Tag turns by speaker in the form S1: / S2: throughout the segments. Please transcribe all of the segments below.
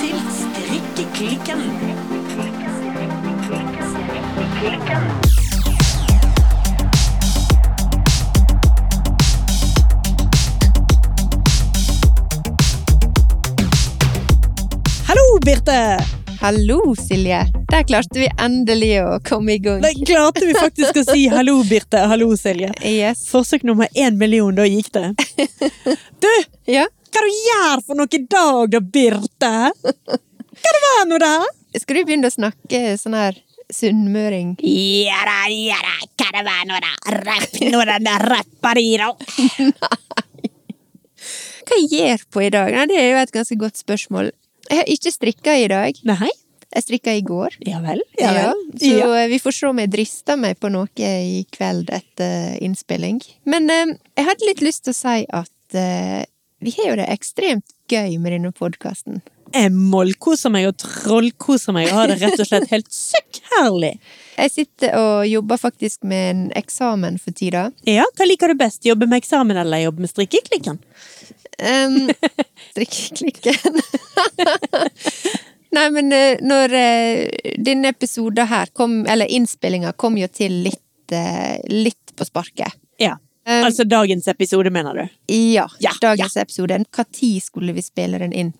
S1: til Strikkeklikken. Hallo, Birte!
S2: Hallo, Silje. Der klarte vi endelig å komme i gang.
S1: Da klarte vi faktisk å si hallo, Birte. Hallo, Silje.
S2: Yes.
S1: Forsøk nummer én million, da gikk det. Du,
S2: Ja.
S1: hva du gjør for noe i dag da, Birte? Hva det var nå da?
S2: Skal du begynne å snakke sånn her sunnmøring?
S1: Ja da, ja da, hva det var nå da? Rapp nå da, da rapper de da.
S2: Hva jeg gjør på i dag? Nei, det er jo et ganske godt spørsmål. Jeg har ikke strikka i dag.
S1: Nei,
S2: Jeg strikka i går.
S1: ja vel, ja vel.
S2: så
S1: Ja.
S2: eh, vi får se om jeg drister meg på noe i kveld etter innspilling. Men eh, jeg hadde litt lyst til å si at eh, vi har jo det ekstremt gøy med denne podkasten.
S1: Jeg mollkoser meg og trollkoser meg og har det rett og slett helt søkk herlig.
S2: Jeg sitter og jobber faktisk med en eksamen for tida.
S1: Ja, hva liker du best? Jobbe med eksamen eller jobbe med strikkeklikken?
S2: Um, Strikkeklikken. Nei, men eh, når eh, denne episoden her kom, eller innspillinga, kom jo til litt, eh, litt på sparket.
S1: Ja,
S2: Um,
S1: altså dagens episode mener du?
S2: ja,
S1: Ja,
S2: dagens episode. Hva tid skulle vi spille den inn?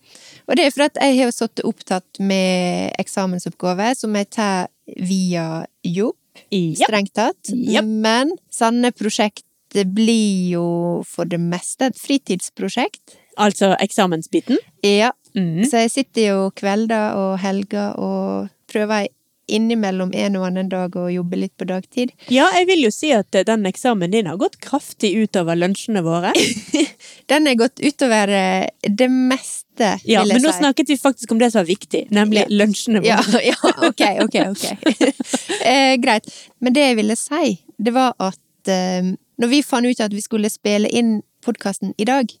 S2: Og det er for at jeg har jo sittet opptatt med eksamensoppgave som jeg tar via jobb,
S1: Ja.
S2: strengt tatt.
S1: Japp.
S2: Men sanne prosjekt blir jo for det meste et fritidsprosjekt.
S1: Altså eksamensbiten?
S2: Ja,
S1: Mm.
S2: Så jeg sitter jo kvelder og helger og prøver innimellom en og annen dag å jobbe litt på dagtid.
S1: Ja, jeg vil jo si at eh, den eksamen din har gått kraftig utover lunsjene våre.
S2: Den er gått utover eh, det meste,
S1: Ja,
S2: vil
S1: men
S2: jeg
S1: nå
S2: si.
S1: snakket vi faktisk om det som var viktig, nemlig lunsjene
S2: ja,
S1: våre.
S2: ja, ok, ok, ok. eh, greit. Men det jeg ville si, det var at eh, når vi fant ut at vi skulle spille inn podkasten i dag,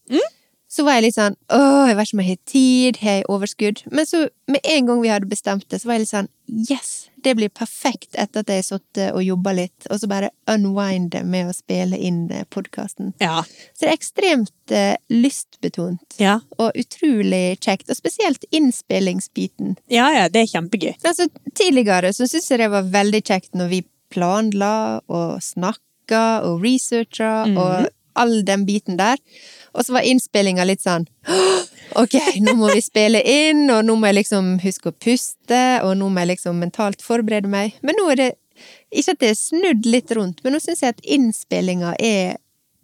S2: så var jeg litt sånn åh, jeg vet ikke om jeg har tid, har jeg overskudd? Men så, med en gang vi hadde bestemt det, så var jeg litt sånn yes, det blir perfekt etter at jeg har sittet og jobba litt, og så bare unwinde med å spille inn podkasten.
S1: Ja.
S2: Så det er ekstremt eh, lystbetont.
S1: Ja.
S2: Og utrolig kjekt, og spesielt innspillingsbiten.
S1: ja, ja, det er kjempegøy.
S2: Altså, tidligere så syntes jeg det var veldig kjekt når vi planla og snakka og researcha og all den biten der. Og så var innspillinga litt sånn «Åh, Ok, nå må vi spille inn, og nå må jeg liksom huske å puste, og nå må jeg liksom mentalt forberede meg. Men nå er det ikke at det er snudd litt rundt, men nå syns jeg at innspillinga er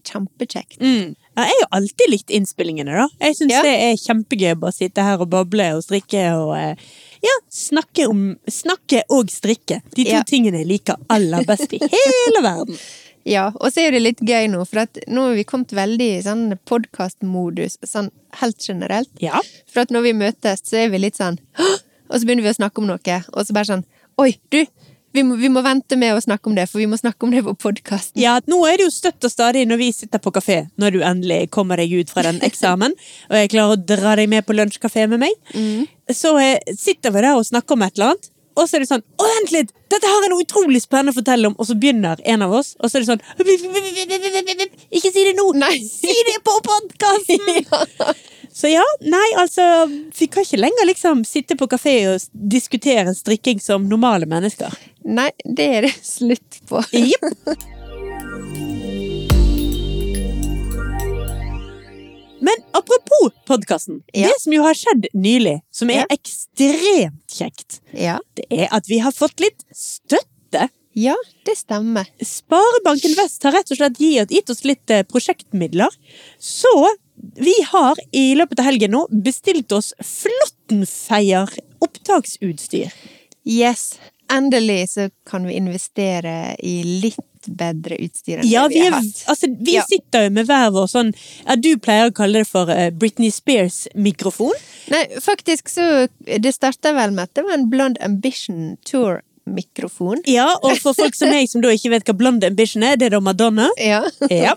S2: kjempekjekt.
S1: Ja, jeg har jo alltid likt innspillingene, da. Jeg syns
S2: Mm. Ja.
S1: det er kjempegøy å bare sitte her og bable og strikke og eh, ja, snakke om Snakke og strikke. De to
S2: Ja.
S1: tingene jeg liker aller best i hele verden.
S2: Ja, og så er det litt gøy nå, for at nå har vi kommet veldig i sånn podkastmodus, sånn helt generelt.
S1: Ja.
S2: For at når vi møtes, så er vi litt sånn «Hå!» Og så begynner vi å snakke om noe, og så bare sånn Oi, du! Vi må, vi må vente med å snakke om det, for vi må snakke om det på podkasten.
S1: Ja, nå er det jo støtt og stadig når vi sitter på kafé, når du endelig kommer deg ut fra den eksamen, og jeg klarer å dra deg med på lunsjkafé med meg, så eh, sitter vi der og snakker om et eller annet, og så er det sånn, å vent litt, dette har jeg noe utrolig spennende å fortelle om, og så begynner en av oss, og så er det sånn, ikke si det nå,
S2: Nei.
S1: si det på podcasten! Så ja, nei, altså, vi kan ikke lenger liksom sitte på kafé og s- diskutere strikking som normale mennesker.
S2: Nei, det er det slutt på.
S1: Jepp. Men apropos podkasten.
S2: Ja.
S1: Det som jo har skjedd nylig, som er
S2: Ja.
S1: ekstremt kjekt,
S2: Ja,
S1: det er at vi har fått litt støtte.
S2: ja det stemmer.
S1: Sparebanken Vest har rett og slett gitt, gitt oss litt eh, prosjektmidler. Så vi har i løpet av helgen nå bestilt oss Flåttenfeier opptaksutstyr.
S2: Yes. Endelig så kan vi investere i litt bedre utstyr enn
S1: Ja,
S2: det
S1: vi,
S2: vi
S1: er,
S2: har hatt.
S1: altså, vi
S2: Ja.
S1: sitter jo med hver vår sånn ja, Du pleier å kalle det for eh, Britney Spears-mikrofon.
S2: Nei, faktisk så Det starta vel med at det var en Blond Ambition Tour-mikrofon.
S1: Ja, Og for folk som meg som da ikke vet hva Blonde Ambition er, det er da Madonna.
S2: Ja.
S1: Ja.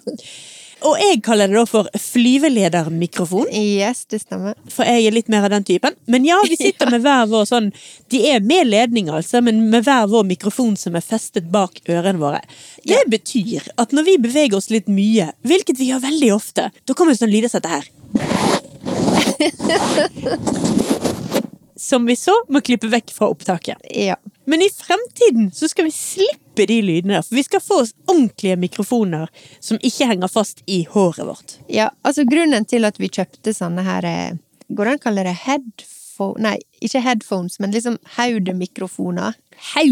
S1: Og jeg kaller det da for flyveledermikrofon,
S2: Yes, det stemmer.
S1: for jeg er litt mer av den typen. Men ja, vi sitter med hver vår sånn De er med ledning, altså, men med hver vår mikrofon som er festet bak ørene våre. Det betyr at når vi beveger oss litt mye, hvilket vi gjør veldig ofte, da kommer det sånn lyder som dette her. som vi så må klippe vekk fra opptaket.
S2: Ja.
S1: Men i fremtiden så skal vi slippe de lydene der, for vi skal få oss ordentlige mikrofoner som ikke henger fast i håret vårt.
S2: ja. Altså, grunnen til at vi kjøpte sånne her eh, Går det an å kalle det headphone Nei, ikke headphones, men liksom haudemikrofoner.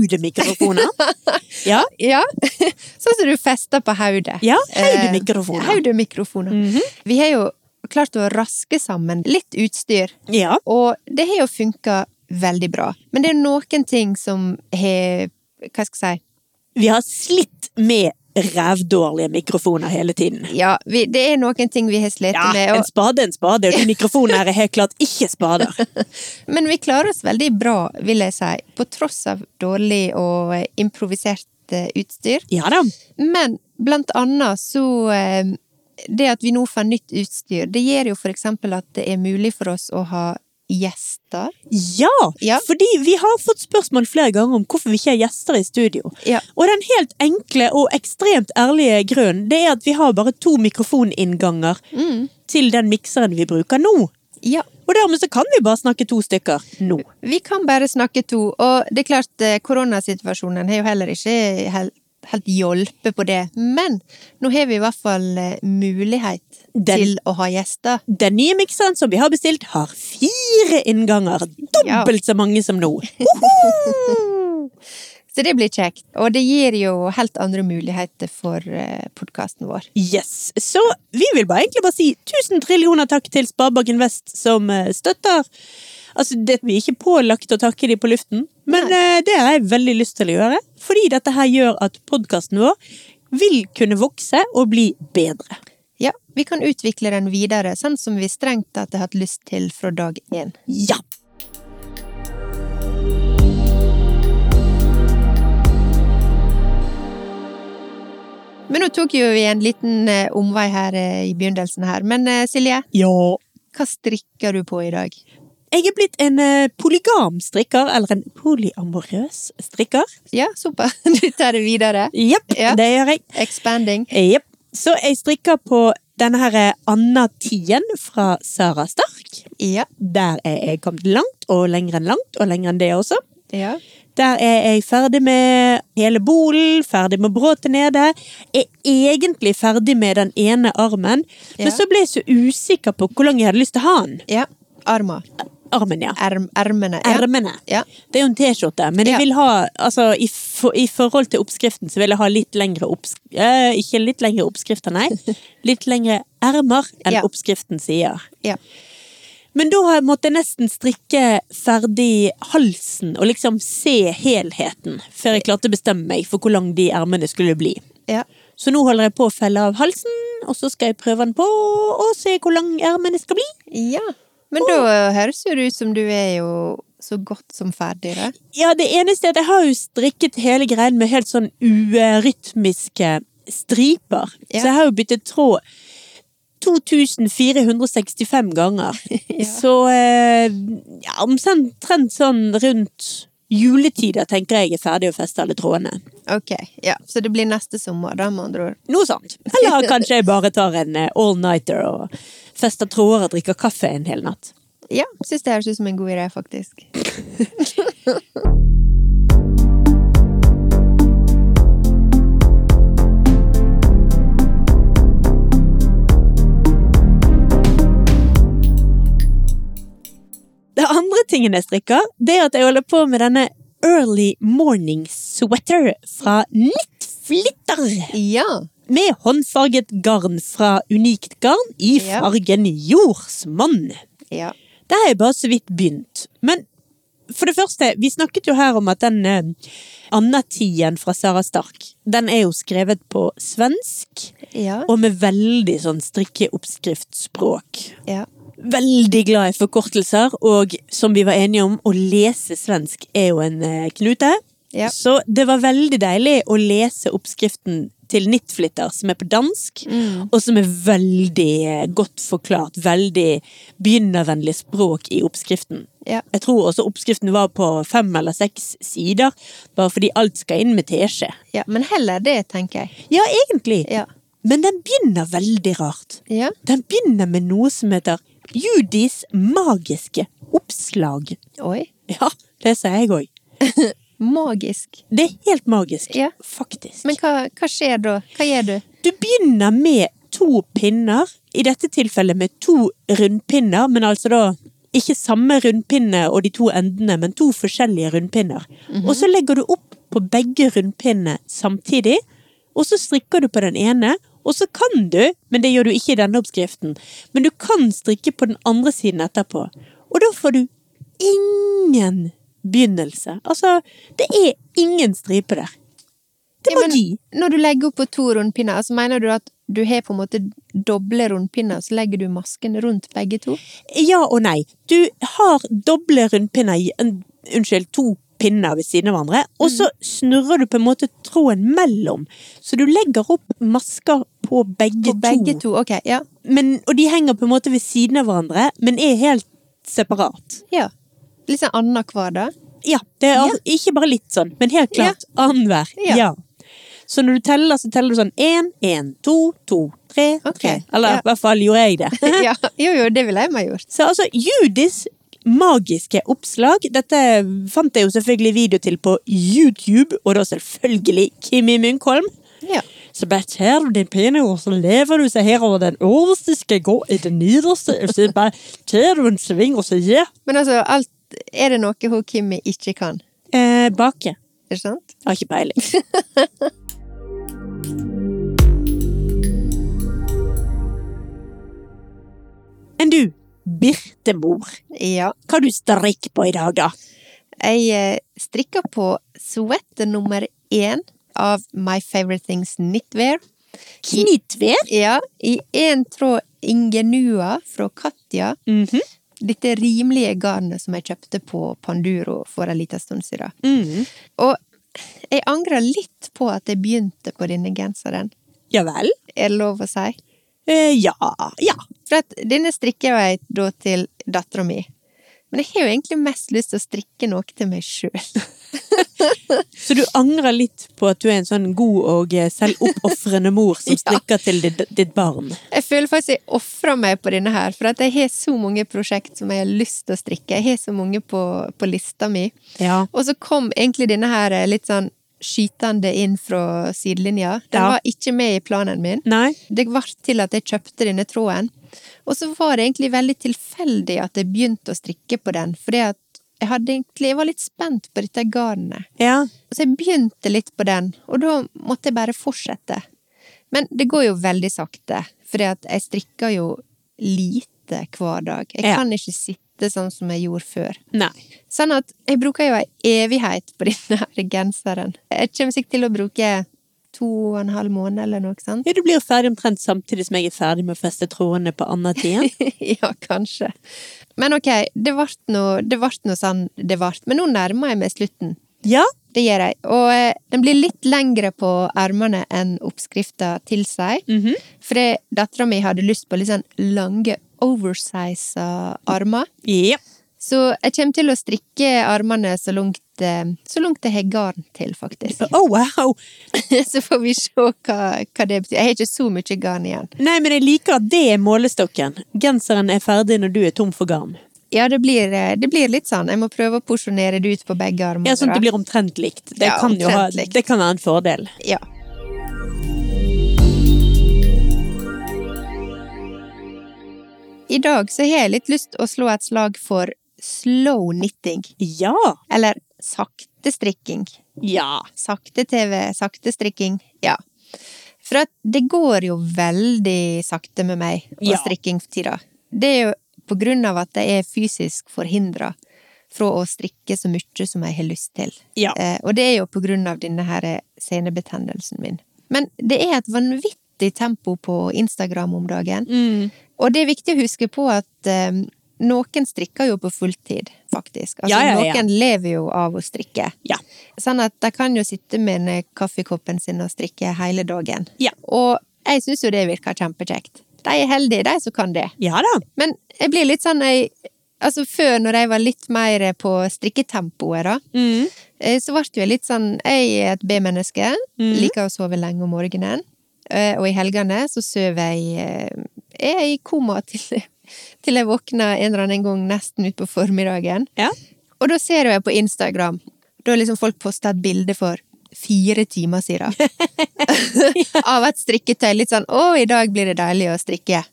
S1: Haudemikrofoner. Ja,
S2: Ja. sånn som du fester på hodet.
S1: Ja, haudemikrofoner. Mhm.
S2: Eh, haudemikrofoner. Vi har jo klart å raske sammen litt utstyr,
S1: ja.
S2: og det har jo funka veldig bra. Men det er noen ting som har Hva skal jeg si?
S1: Vi har slitt med rævdårlige mikrofoner hele tiden.
S2: Ja, vi, det er noen ting vi har slitt
S1: Ja,
S2: med. Og,
S1: en spade er en spade, og de mikrofonene her er helt klart ikke spader.
S2: Men vi klarer oss veldig bra, vil jeg si, på tross av dårlig og eh, improvisert eh, utstyr.
S1: Ja da.
S2: Men blant annet så eh, Det at vi nå får nytt utstyr, det gjør jo for eksempel at det er mulig for oss å ha gjester.
S1: Ja,
S2: Ja.
S1: fordi vi har fått spørsmål flere ganger om hvorfor vi ikke har gjester i studio.
S2: Ja.
S1: Og den helt enkle og ekstremt ærlige grunnen, det er at vi har bare to mikrofoninnganger
S2: Mm.
S1: til den mikseren vi bruker nå.
S2: ja.
S1: Og dermed så kan vi bare snakke to stykker nå.
S2: Vi kan bare snakke to, og det er klart eh, koronasituasjonen har jo heller ikke helt, helt hjulpet på det. Men nå har vi i hvert fall eh, mulighet
S1: Den-
S2: til å ha gjester.
S1: Den nye mikseren som vi har bestilt har fire innganger, dobbelt så mange som nå.
S2: Så det blir kjekt. Og det gir jo helt andre muligheter for podkasten vår.
S1: Yes, Så vi vil bare egentlig bare si tusen trillioner takk til Sparebanken Vest som eh, støtter. Altså, det, vi er ikke pålagt å takke de på luften, men eh, det har jeg veldig lyst til å gjøre. Fordi dette her gjør at podkasten vår vil kunne vokse og bli bedre.
S2: Ja, vi kan utvikle den videre, sånn som vi strengt tatt har hatt lyst til fra dag én.
S1: Ja!
S2: Men nå tok jo vi en liten eh, omvei her eh, i begynnelsen her. Men eh, Silje,
S1: Ja.
S2: hva strikker du på i dag?
S1: Jeg er blitt en eh, polygam strikker, eller en polyamorøs strikker.
S2: Ja, super. Du tar det videre.
S1: Jepp,
S2: Ja.
S1: det gjør jeg.
S2: Expanding.
S1: Jepp. Så jeg strikker på denne her eh, Anna Tien fra Sara Stark.
S2: Ja.
S1: Der er jeg kommet langt, og lenger enn langt, og lenger enn det også.
S2: Ja.
S1: Der er jeg ferdig med hele bolen, ferdig med bråtet nede. Er egentlig ferdig med den ene armen,
S2: Ja.
S1: men så ble jeg så usikker på hvor lang jeg hadde lyst til å ha den.
S2: ja. Arma.
S1: Armen, ja.
S2: Erm, ermene. Ja.
S1: Ermene.
S2: ja.
S1: Det er jo en T-skjorte, men jeg
S2: Ja.
S1: vil ha, altså, i, for, i forhold til oppskriften, så vil jeg ha litt lengre oppskrifter. ikke litt lengre oppskrifter, nei. Litt lengre ermer enn
S2: Ja.
S1: oppskriften sier.
S2: ja.
S1: Men da har jeg måttet nesten strikke ferdig halsen og liksom se helheten, før jeg klarte å bestemme meg for hvor lang de ermene skulle bli.
S2: ja.
S1: Så nå holder jeg på å felle av halsen, og så skal jeg prøve den på og se hvor lang ermene skal bli.
S2: Ja. Men da høres jo det ut som du er jo så godt som ferdig, da.
S1: Ja, det eneste er at jeg har jo strikket hele greien med helt sånn urytmiske striper.
S2: Ja.
S1: Så jeg har jo byttet tråd 2465 ganger.
S2: Ja.
S1: Så eh, ja, omtrent sånn rundt juletider tenker jeg er ferdig å feste alle trådene.
S2: Ok, ja. Så det blir neste sommer, da, med andre ord.
S1: Noe sånt. Eller kanskje jeg bare tar en eh, all-nighter og fester tråder og drikker kaffe en hel natt.
S2: Ja, syns det høres ut som en god idé, faktisk.
S1: Det andre tingen jeg strikker, det er at jeg holder på med denne Early Morning Sweater fra Knitflitter.
S2: Ja!
S1: Med håndfarget garn fra Unikt Garn i
S2: Ja.
S1: fargen jordsmonn.
S2: Ja.
S1: Der har jeg bare så vidt begynt. Men for det første, vi snakket jo her om at den eh, Anna-tien fra Sara Stark, den er jo skrevet på svensk,
S2: Ja.
S1: og med veldig sånn strikkeoppskriftspråk
S2: ja.
S1: veldig glad i forkortelser, og som vi var enige om, å lese svensk er jo en eh, knute.
S2: Ja.
S1: Så det var veldig deilig å lese oppskriften til Nittflitter, som er på dansk, og som er veldig eh, godt forklart, veldig begynnervennlig språk i oppskriften.
S2: ja.
S1: Jeg tror også oppskriften var på fem eller seks sider, bare fordi alt skal inn med teskje.
S2: ja. Men heller det, tenker jeg.
S1: Ja, egentlig.
S2: Ja.
S1: Men den begynner veldig rart.
S2: Ja.
S1: Den begynner med noe som heter Judis magiske oppslag.
S2: Oi.
S1: Ja, det sier jeg òg.
S2: Magisk.
S1: Det er helt magisk,
S2: Ja.
S1: faktisk.
S2: Men hva, hva skjer da? Hva gjør du?
S1: Du begynner med to pinner, i dette tilfellet med to rundpinner, men altså da ikke samme rundpinne og de to endene, men to forskjellige rundpinner.
S2: Mhm.
S1: Og så legger du opp på begge rundpinnene samtidig, og så strikker du på den ene, og så kan du, men det gjør du ikke i denne oppskriften, men du kan strikke på den andre siden etterpå. Og da får du ingen begynnelse. Altså, det er ingen stripe der. Det
S2: Ja,
S1: er
S2: men
S1: magi.
S2: Når du legger opp på to rundpinner, altså mener du at du har på en måte doble rundpinner, så legger du masken rundt begge to?
S1: Ja og nei. Du har doble rundpinner i en- Unnskyld, to pinner ved siden av hverandre, og så
S2: Mhm.
S1: snurrer du på en måte tråden mellom. Så du legger opp masker på begge,
S2: På begge to? Ok, ja.
S1: Men, og de henger på en måte ved siden av hverandre, men er helt separat.
S2: ja. Litt sånn annenhver, da?
S1: Ja, det er al- ikke bare litt sånn, men helt klart annenhver.
S2: Ja.
S1: Ja. Så når du teller, så teller du sånn én, én, to, to, tre,
S2: Ok,
S1: tre. Eller
S2: ja.
S1: i hvert fall gjorde jeg det.
S2: ja. Jo, jo, det ville jeg meg gjort.
S1: Så altså, Judis magiske oppslag Dette fant jeg jo selvfølgelig video til på YouTube, og da selvfølgelig Kimi Munkholm.
S2: Ja.
S1: Så bare tar du din pinne, og så lever du seg herover. Den øverste skal gå i den nederste, og så bare tar du en sving, og så ja.
S2: Men altså, alt Er det noe hun Kimmi ikke kan?
S1: Eh, bake.
S2: Ikke sant?
S1: Jeg har ikke peiling. Men du, Birtemor,
S2: Ja.
S1: hva du strikker på i dag, da?
S2: Jeg eh, strikker på sweater nummer én av My Favorite Things Knitwear.
S1: Knitved?
S2: Ja, i én tråd Ingenua fra Katja.
S1: Mhm.
S2: Dette rimelige garnet som jeg kjøpte på Panduro for en liten stund siden.
S1: Mhm.
S2: Og jeg angrer litt på at jeg begynte på denne genseren.
S1: Ja vel?
S2: Er det lov å si?
S1: Eh, ja. Ja.
S2: For at denne strikker jeg da til dattera mi. Men jeg har jo egentlig mest lyst til å strikke noe til meg sjøl.
S1: Så du angrer litt på at du er en sånn god og eh, selvoppofrende mor som strikker til ditt, ditt barn?
S2: Jeg føler faktisk jeg ofrer meg på denne her, for at jeg har så mange prosjekt som jeg har lyst til å strikke. Jeg har så mange på, på lista mi.
S1: Ja.
S2: Og så kom egentlig denne her eh, litt sånn skytende inn fra sidelinja. Den
S1: Ja.
S2: var ikke med i planen min.
S1: Nei?
S2: Det ble til at jeg kjøpte denne tråden. Og så var det egentlig veldig tilfeldig at jeg begynte å strikke på den, fordi at jeg, hadde egentlig, jeg var litt spent på dette garnet.
S1: Ja.
S2: Så jeg begynte litt på den, og da måtte jeg bare fortsette. Men det går jo veldig sakte, fordi at jeg strikker jo lite hver dag. Jeg
S1: Ja.
S2: kan ikke sitte sånn som jeg gjorde før.
S1: Nei.
S2: Sånn at jeg bruker jo ei evighet på denne her genseren. Jeg kommer sikkert til å bruke to og en halv måned eller noe sånt.
S1: Ja, du blir jo ferdig omtrent samtidig som jeg er ferdig med å feste trådene på Anna-tiden.
S2: ja, kanskje. Men ok, det vart nå- det vart nå sånn det vart. Men nå nærmer jeg meg slutten.
S1: Ja.
S2: Det gjør jeg. Og eh, den blir litt lengre på ermene enn oppskrifta tilsier.
S1: Mhm.
S2: For dattera mi hadde lyst på litt sånn lange, oversiza armer.
S1: Ja.
S2: Så jeg kommer til å strikke armene så langt, eh, så langt jeg har garn til, faktisk.
S1: Oh, wow!
S2: Så får vi se hva, hva det betyr. Jeg har ikke så mye garn igjen.
S1: Nei, men jeg liker at det er målestokken. Genseren er ferdig når du er tom for garn.
S2: Ja, det blir, det blir litt sånn. Jeg må prøve å porsjonere det ut på begge armene.
S1: Ja, sånn at
S2: da.
S1: det blir omtrent likt. Det
S2: Ja,
S1: kan jo ha,
S2: omtrent likt.
S1: det kan være en fordel.
S2: Ja. I dag så har jeg litt lyst å slå et slag for slow knitting,
S1: Ja.
S2: eller sakte strikking.
S1: Ja.
S2: Sakte-TV, sakte strikking. Ja. For at det går jo veldig sakte med meg og
S1: Ja.
S2: strikking for tida. Det er jo på grunn av at jeg er fysisk forhindra fra å strikke så mye som jeg har lyst til.
S1: Ja.
S2: Eh, og det er jo på grunn av denne her eh, senebetennelsen min. Men det er et vanvittig tempo på Instagram om dagen.
S1: Mm.
S2: Og det er viktig å huske på at eh, noen strikker jo på fulltid, faktisk. Altså,
S1: Ja, ja, ja.
S2: Noen lever jo av å strikke.
S1: Ja.
S2: Sånn at de kan jo sitte med en kaffekoppen sin og strikke hele dagen.
S1: Ja.
S2: Og jeg syns jo det virker kjempekjekt. De er heldige, de som kan det.
S1: Ja da.
S2: Men jeg blir litt sånn jeg, Altså før, når jeg var litt mer på strikketempoet, da,
S1: Mm.
S2: eh, så ble jeg litt sånn Jeg er et B-menneske. Liker å sove lenge om morgenen. Eh, Og i helgene så sover jeg eh, er i koma til, til jeg våkner en eller annen gang nesten utpå formiddagen.
S1: Ja.
S2: Og da ser jeg på Instagram, da har liksom folk posta et bilde for fire timer siden. Av et strikketøy. Litt sånn 'Å, i dag blir det deilig å strikke'.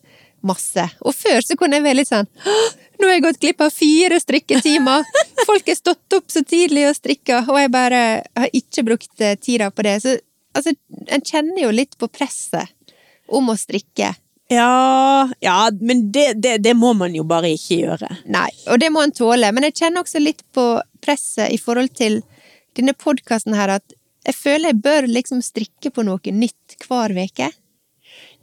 S2: Masse. Og før så kunne jeg være litt sånn «Hå, 'Nå har jeg gått glipp av fire strikketimer!' Folk har stått opp så tidlig og strikka, og jeg bare har ikke brukt eh, tida på det. Så altså, en kjenner jo litt på presset om å strikke.
S1: Ja, ja men det, det, det må man jo bare ikke gjøre.
S2: Nei, og det må en tåle. Men jeg kjenner også litt på presset i forhold til denne podkasten her, at jeg føler jeg bør liksom strikke på noe nytt hver uke.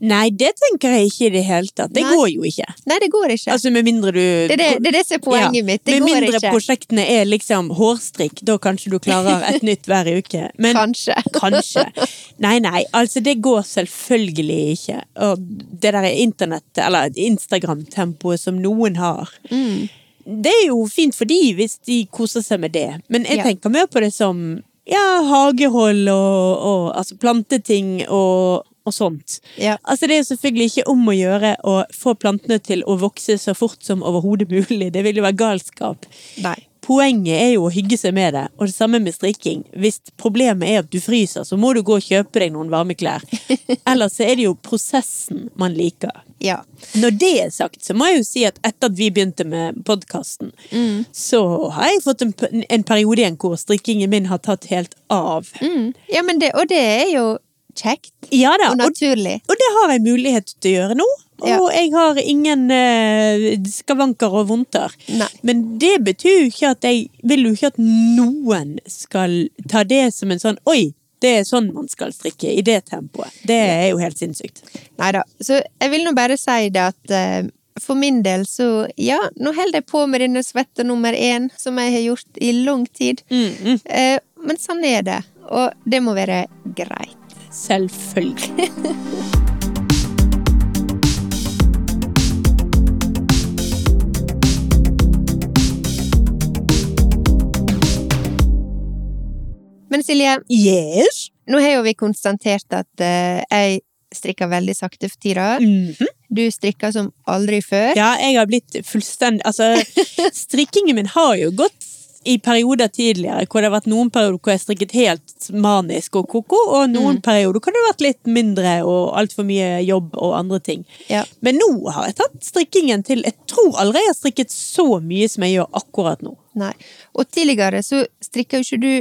S1: Nei, det tenker jeg ikke i det hele tatt. Det
S2: Nei.
S1: går jo ikke.
S2: Nei, det går ikke.
S1: Altså, med mindre du
S2: det, er det, det er det som er poenget mitt. Det
S1: med
S2: går
S1: mindre
S2: ikke.
S1: prosjektene er liksom hårstrikk, da kanskje du klarer et nytt hver uke. Men
S2: Kanskje.
S1: kanskje. Nei, nei, altså det går selvfølgelig ikke. Og det der internett- eller Instagram-tempoet som noen har,
S2: Mm.
S1: det er jo fint for de hvis de koser seg med det. Men jeg
S2: Ja.
S1: tenker mer på det som ja, hagehold og, og altså planteting og, og sånt.
S2: Ja.
S1: Altså Det er jo selvfølgelig ikke om å gjøre å få plantene til å vokse så fort som overhodet mulig. Det vil jo være galskap.
S2: Nei.
S1: Poenget er jo å hygge seg med det, og det samme med strikking. Hvis problemet er at du fryser, så må du gå og kjøpe deg noen varme klær. Ellers så er det jo prosessen man liker.
S2: Ja.
S1: Når det er sagt, så må jeg jo si at etter at vi begynte med podkasten,
S2: Mm.
S1: så har jeg fått en, p- en periode igjen hvor strikkingen min har tatt helt av.
S2: Mm. ja, men det, og det er jo kjekt
S1: Ja da,
S2: og
S1: og,
S2: naturlig.
S1: og det har jeg mulighet til å gjøre nå. Og
S2: Ja.
S1: jeg har ingen eh, skavanker og vondter.
S2: Nei.
S1: Men det betyr jo ikke at jeg vil jo ikke at noen skal ta det som en sånn Oi, det er sånn man skal strikke i det tempoet. Det er jo helt sinnssykt.
S2: Nei da. Så jeg vil nå bare si det at eh, for min del så Ja, nå holder jeg på med denne svette nummer én, som jeg har gjort i lang tid. Eh, men sånn er det. Og det må være greit.
S1: Selvfølgelig.
S2: Men Silje,
S1: Yes!
S2: nå har jo vi konstatert at eh, jeg strikker veldig sakte for tida.
S1: Mhm.
S2: Du strikker som aldri før.
S1: Ja, jeg har blitt fullstendig Altså, strikkingen min har jo gått i perioder tidligere, hvor det har vært noen perioder hvor jeg strikket helt manisk og koko, og noen perioder hvor det har vært litt mindre og altfor mye jobb og andre ting.
S2: Ja.
S1: Men nå har jeg tatt strikkingen til Jeg tror aldri jeg har strikket så mye som jeg gjør akkurat nå.
S2: Nei. Og tidligere så strikka jo ikke du,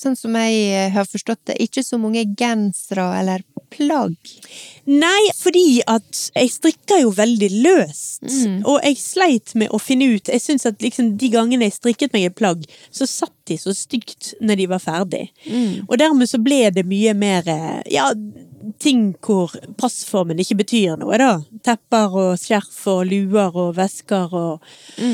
S2: sånn som jeg eh, har forstått det, ikke så mange gensere eller plagg.
S1: Nei, fordi at jeg strikker jo veldig løst,
S2: Mm.
S1: og jeg sleit med å finne ut Jeg syns at liksom de gangene jeg strikket meg et plagg, så satt de så stygt når de var ferdig.
S2: Mm.
S1: Og dermed så ble det mye mer eh, ja, ting hvor passformen ikke betyr noe, da. Tepper og skjerf og luer og vesker og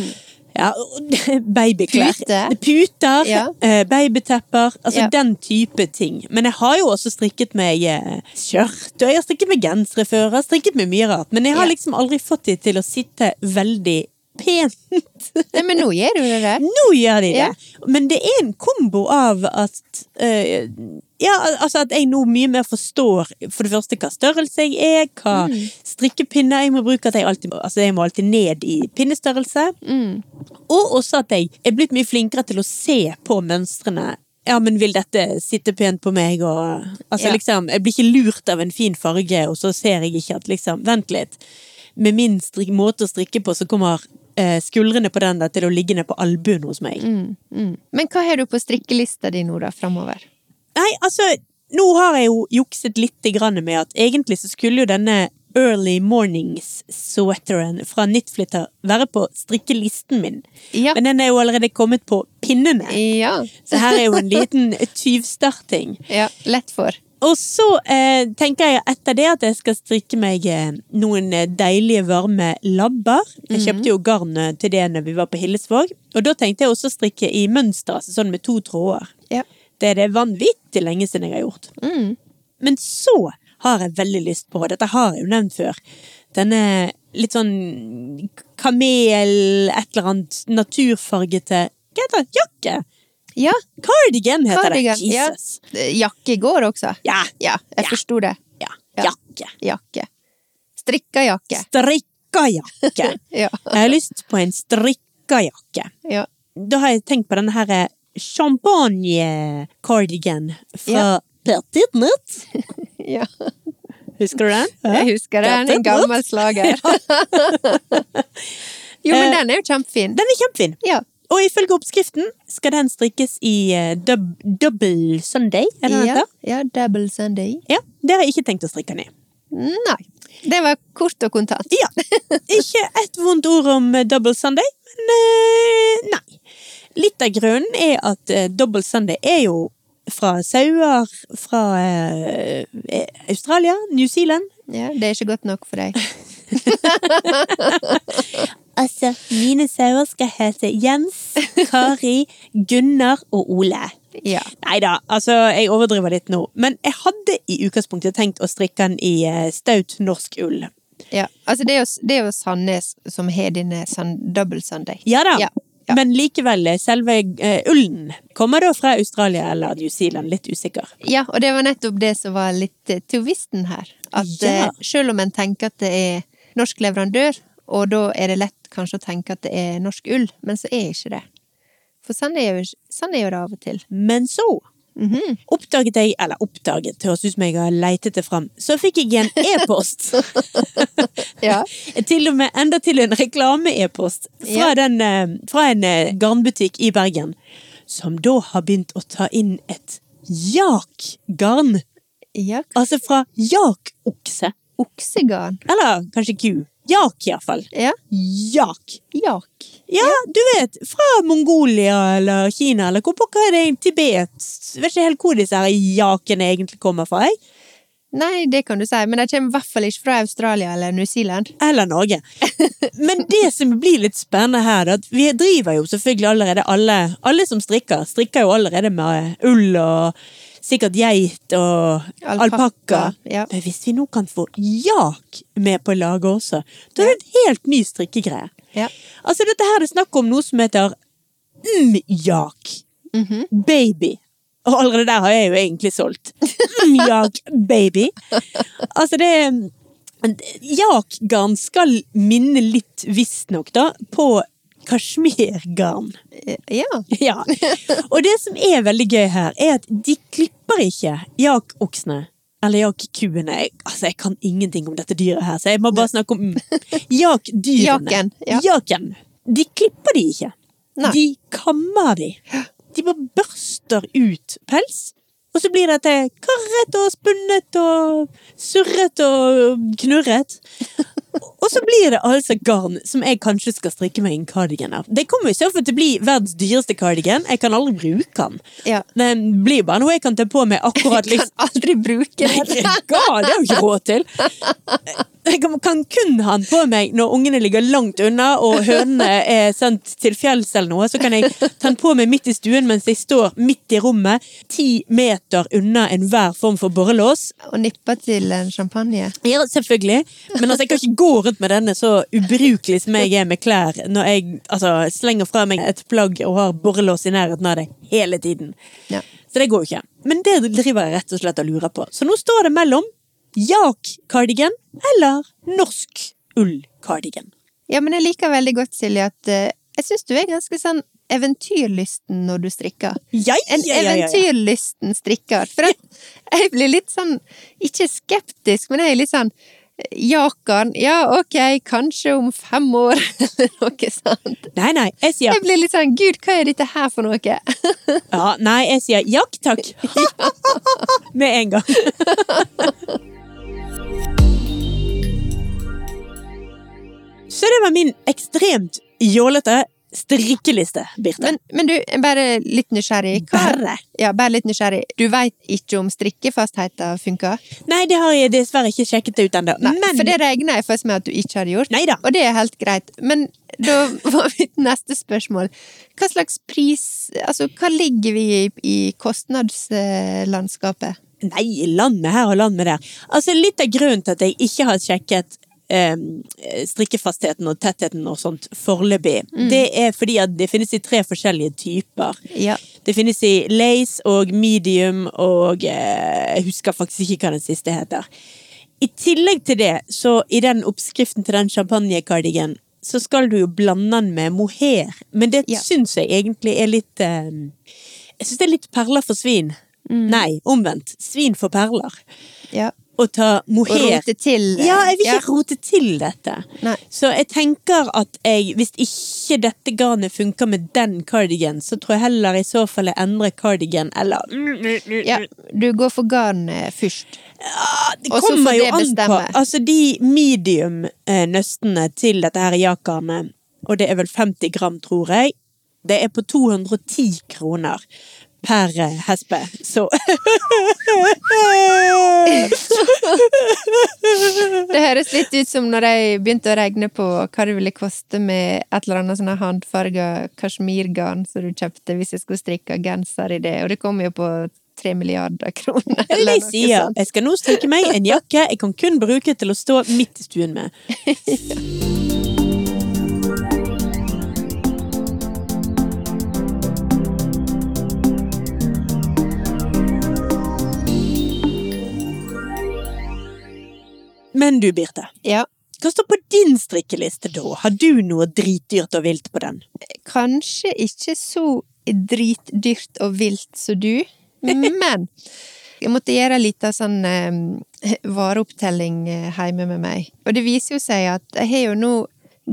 S1: Ja, og babyklær.
S2: Mm. Pute.
S1: Puter,
S2: Ja.
S1: eh, babytepper, altså
S2: Ja.
S1: den type ting. Men jeg har jo også strikket meg eh, skjørt, og jeg har strikket meg gensere før, jeg har strikket meg mye rart, men jeg har
S2: Ja.
S1: liksom aldri fått de til å sitte veldig pent.
S2: Nei, men nå gjør du det der.
S1: Nå gjør de det!
S2: Ja.
S1: Men det er en kombo av at eh, ja, al- altså at jeg nå mye mer forstår for det første hva størrelse jeg er, hva
S2: Mm.
S1: strikkepinner jeg må bruke, at jeg alltid, altså jeg må alltid ned i pinnestørrelse. Og også at jeg er blitt mye flinkere til å se på mønstrene. Ja, men vil dette sitte pent på meg, og Altså,
S2: Ja.
S1: liksom, jeg blir ikke lurt av en fin farge, og så ser jeg ikke at liksom Vent litt. Med min strik måte å strikke på, så kommer eh, skuldrene på den der til å ligge ned på albuen hos meg.
S2: Mm. Men hva har du på strikkelista di nå, da, framover?
S1: Nei, altså, nå har jeg jo jukset litt grann med at egentlig så skulle jo denne Early Mornings-sweateren fra Knitflitter være på strikkelisten min,
S2: Ja.
S1: men den er jo allerede kommet på pinnene.
S2: ja.
S1: Så her er jo en liten tyvstarting.
S2: ja. Lett for.
S1: Og så eh, tenker jeg etter det at jeg skal strikke meg eh, noen eh, deilige, varme labber. Jeg
S2: Mhm.
S1: kjøpte jo garn eh, til det når vi var på Hillesvåg. Og da tenkte jeg også strikke i mønster, altså sånn med to tråder.
S2: Ja.
S1: Det er det vanvittig lenge siden jeg har gjort.
S2: Mm.
S1: Men så har jeg veldig lyst på, og dette har jeg jo nevnt før, denne litt sånn kamel, et eller annet naturfargete Hva heter det? Jakke?
S2: ja.
S1: Cardigan heter
S2: Cardigan.
S1: det.
S2: Ja.
S1: Jesus.
S2: Jakke går også.
S1: Ja.
S2: Ja, jeg
S1: Ja.
S2: forsto det.
S1: Ja.
S2: Ja.
S1: Jakke.
S2: Jakke. Strikka jakke.
S1: Strikka jakke.
S2: Ja.
S1: Jeg har lyst på en strikka jakke.
S2: ja.
S1: Da har jeg tenkt på denne her eh, champagne-cardigan fra
S2: Ja.
S1: Petit Nut.
S2: ja.
S1: Husker du den?
S2: Jeg husker den. En gammel slager. jo, men den er jo kjempefin.
S1: Den er kjempefin.
S2: Ja.
S1: Og ifølge oppskriften skal den strikkes i eh, dub double Sunday, er det det
S2: Ja,
S1: heter?
S2: ja, double Sunday.
S1: Ja. Det har jeg ikke tenkt å strikke den i.
S2: Nei. Det var kort og kontant.
S1: Ja. Ikke et vondt ord om eh, Double Sunday, men eh, nei. Litt av grunnen er at eh, Double Sunday er jo fra sauer fra eh, eh, Australia, New Zealand.
S2: Ja, det er ikke godt nok for deg.
S1: Altså, mine sauer skal hete Jens, Kari, Gunnar og Ole.
S2: Ja.
S1: Nei da, altså, jeg overdriver litt nå. Men jeg hadde i utgangspunktet tenkt å strikke den i eh, staut norsk ull.
S2: ja. Altså, det er, jo, det er jo Sandnes som har denne sun, double Sunday.
S1: Ja da.
S2: Ja, ja.
S1: Men likevel, eh, selve eh, ullen kommer da fra Australia eller New Zealand, litt usikker.
S2: Ja, og det var nettopp det som var litt eh, tvisten her. At
S1: Ja.
S2: eh, selv om en tenker at det er norsk leverandør, og da er det lett kanskje å tenke at det er norsk ull, men så er ikke det. For sånn er jo, sånn er jo det av og til.
S1: Men så
S2: Mhm.
S1: oppdaget jeg, eller oppdaget, det høres ut som jeg har leitet det fram, så fikk jeg en e-post.
S2: Ja.
S1: til og med enda til en reklame-e-post fra,
S2: Ja.
S1: den, eh, fra en eh, garnbutikk i Bergen, som da har begynt å ta inn et jak-garn.
S2: ja
S1: Altså fra jak-okse.
S2: oksegarn.
S1: Eller kanskje ku. Jak, iallfall.
S2: Ja.
S1: Jak.
S2: Jak.
S1: Ja, du vet, fra Mongolia eller Kina eller hvor pokker er det Tibet? Jeg vet ikke helt hvor disse her jakene egentlig kommer fra, jeg.
S2: Nei, det kan du si, men de kommer i hvert fall ikke fra Australia eller New Zealand.
S1: Eller Norge. Men det som blir litt spennende her, det er at vi driver jo selvfølgelig allerede alle Alle som strikker, strikker jo allerede med ull og sikkert geit og
S2: Alpakka,
S1: alpakka.
S2: ja.
S1: Men hvis vi nå kan få jak med på laget også, da er det en helt ny strikkegreie.
S2: Ja.
S1: Altså, dette her er snakk om noe som heter mm-jak.
S2: Mhm.
S1: Baby. Og allerede der har jeg jo egentlig solgt. Jak baby. Altså, det er- Jak-garn skal minne litt, visstnok, da, på kasjmirgarn.
S2: Eh, Ja.
S1: Ja. Og det som er veldig gøy her, er at de klipper ikke jak-oksene. Eller jak-kuene. Jeg- Altså, jeg kan ingenting om dette dyret her, så jeg må bare snakke om jak-dyrene.
S2: Jaken, ja.
S1: Jaken. De klipper de ikke.
S2: Nei.
S1: De kammer de. De bare børster ut pels. Og så blir dette karret og spunnet og surret og knurret. Og så blir det altså garn som jeg kanskje skal strikke meg en cardigan av. Det kommer i så fall til å bli verdens dyreste cardigan. Jeg kan aldri bruke den.
S2: Ja.
S1: Den blir bare noe jeg kan ta på meg akkurat liksom.
S2: Kan aldri bruke det.
S1: Herregud, det har jeg ikke råd til! Jeg kan- kan kun ha den på meg når ungene ligger langt unna og hønene er sendt til fjells eller noe. Så kan jeg ta den på meg midt i stuen mens jeg står midt i rommet, ti meter unna enhver form for borrelås.
S2: Og nippe til en champagne.
S1: Ja, selvfølgelig. Men altså, jeg kan ikke gå rundt med denne så ubrukelig som jeg er med klær, når jeg altså, slenger fra meg et plagg og har borrelås i nærheten av det hele tiden.
S2: Ja.
S1: Så det går jo ikke. Men det driver jeg rett og slett og lurer på. Så nå står det mellom jak-cardigan eller norsk ull-cardigan.
S2: Ja, men jeg liker veldig godt, Silje, at eh, jeg syns du er ganske sånn eventyrlysten når du strikker.
S1: Ja, ja,
S2: En
S1: ja, ja, ja.
S2: eventyrlysten strikker. For at jeg blir litt sånn, ikke skeptisk, men jeg er litt sånn eh, Jakan, ja ok, kanskje om fem år, eller noe sånt.
S1: Nei, nei, jeg sier,
S2: Jeg blir litt sånn, gud, hva er dette her for noe?
S1: ja, nei, jeg sier jak, takk. Med en gang. Så det var min ekstremt jålete strikkeliste, Birte.
S2: Men, men du, jeg er bare litt nysgjerrig.
S1: Bare?
S2: Ja, bare litt nysgjerrig. Du veit ikke om strikkefastheten funker?
S1: Nei, det har jeg dessverre ikke sjekket det ut ennå.
S2: Nei,
S1: Men
S2: For det regner jeg først med at du ikke hadde gjort.
S1: Neida.
S2: Og det er helt greit. Men da var mitt neste spørsmål Hva slags pris Altså, hva ligger vi i, i kostnadslandskapet?
S1: Nei, landet her og landet der. Altså, litt av grunnen til at jeg ikke har sjekket eh, strikkefastheten og tettheten og sånt foreløpig, det er fordi at det finnes i tre forskjellige typer.
S2: Ja.
S1: Det finnes i lace og medium og eh, Jeg husker faktisk ikke hva den siste heter. I tillegg til det, så i den oppskriften til den champagnekardigen, så skal du jo blande den med mohair. Men det
S2: Ja.
S1: syns jeg egentlig er litt eh, Jeg syns det er litt perler for svin.
S2: Mm.
S1: Nei, omvendt. Svin for perler.
S2: Ja.
S1: Å ta
S2: Og
S1: mohair
S2: rote til. eh,
S1: ja, jeg vil ikke
S2: ja.
S1: rote til dette.
S2: Nei.
S1: Så jeg tenker at jeg, hvis ikke dette garnet funker med den cardigan, så tror jeg heller i så fall jeg endrer cardigan, eller
S2: Ja, du går for garn eh, først.
S1: Ah, Det
S2: Og så
S1: kommer
S2: får
S1: jo
S2: det
S1: an på.
S2: bestemme.
S1: Altså, de medium-nøstene til dette her jakarnet, og det er vel 50 gram, tror jeg, det er på 210 kroner per eh, hespe. Så
S2: Det høres litt ut som når jeg begynte å regne på hva det ville koste med et eller annet sånn her håndfarga kasjmirgarn som du kjøpte hvis jeg skulle strikke genser i det, og det kom jo på tre milliarder kroner. eller
S1: Eller
S2: noe
S1: de sier
S2: sånt.
S1: jeg skal nå strikke meg en jakke jeg kan kun bruke til å stå midt i stuen med. Men du, Birte.
S2: Ja.
S1: Hva står på din strikkeliste, da? Har du noe dritdyrt og vilt på den?
S2: Kanskje ikke så dritdyrt og vilt som du, men jeg måtte gjøre en liten sånn eh, vareopptelling eh, hjemme med meg. Og det viser jo seg at jeg har jo nå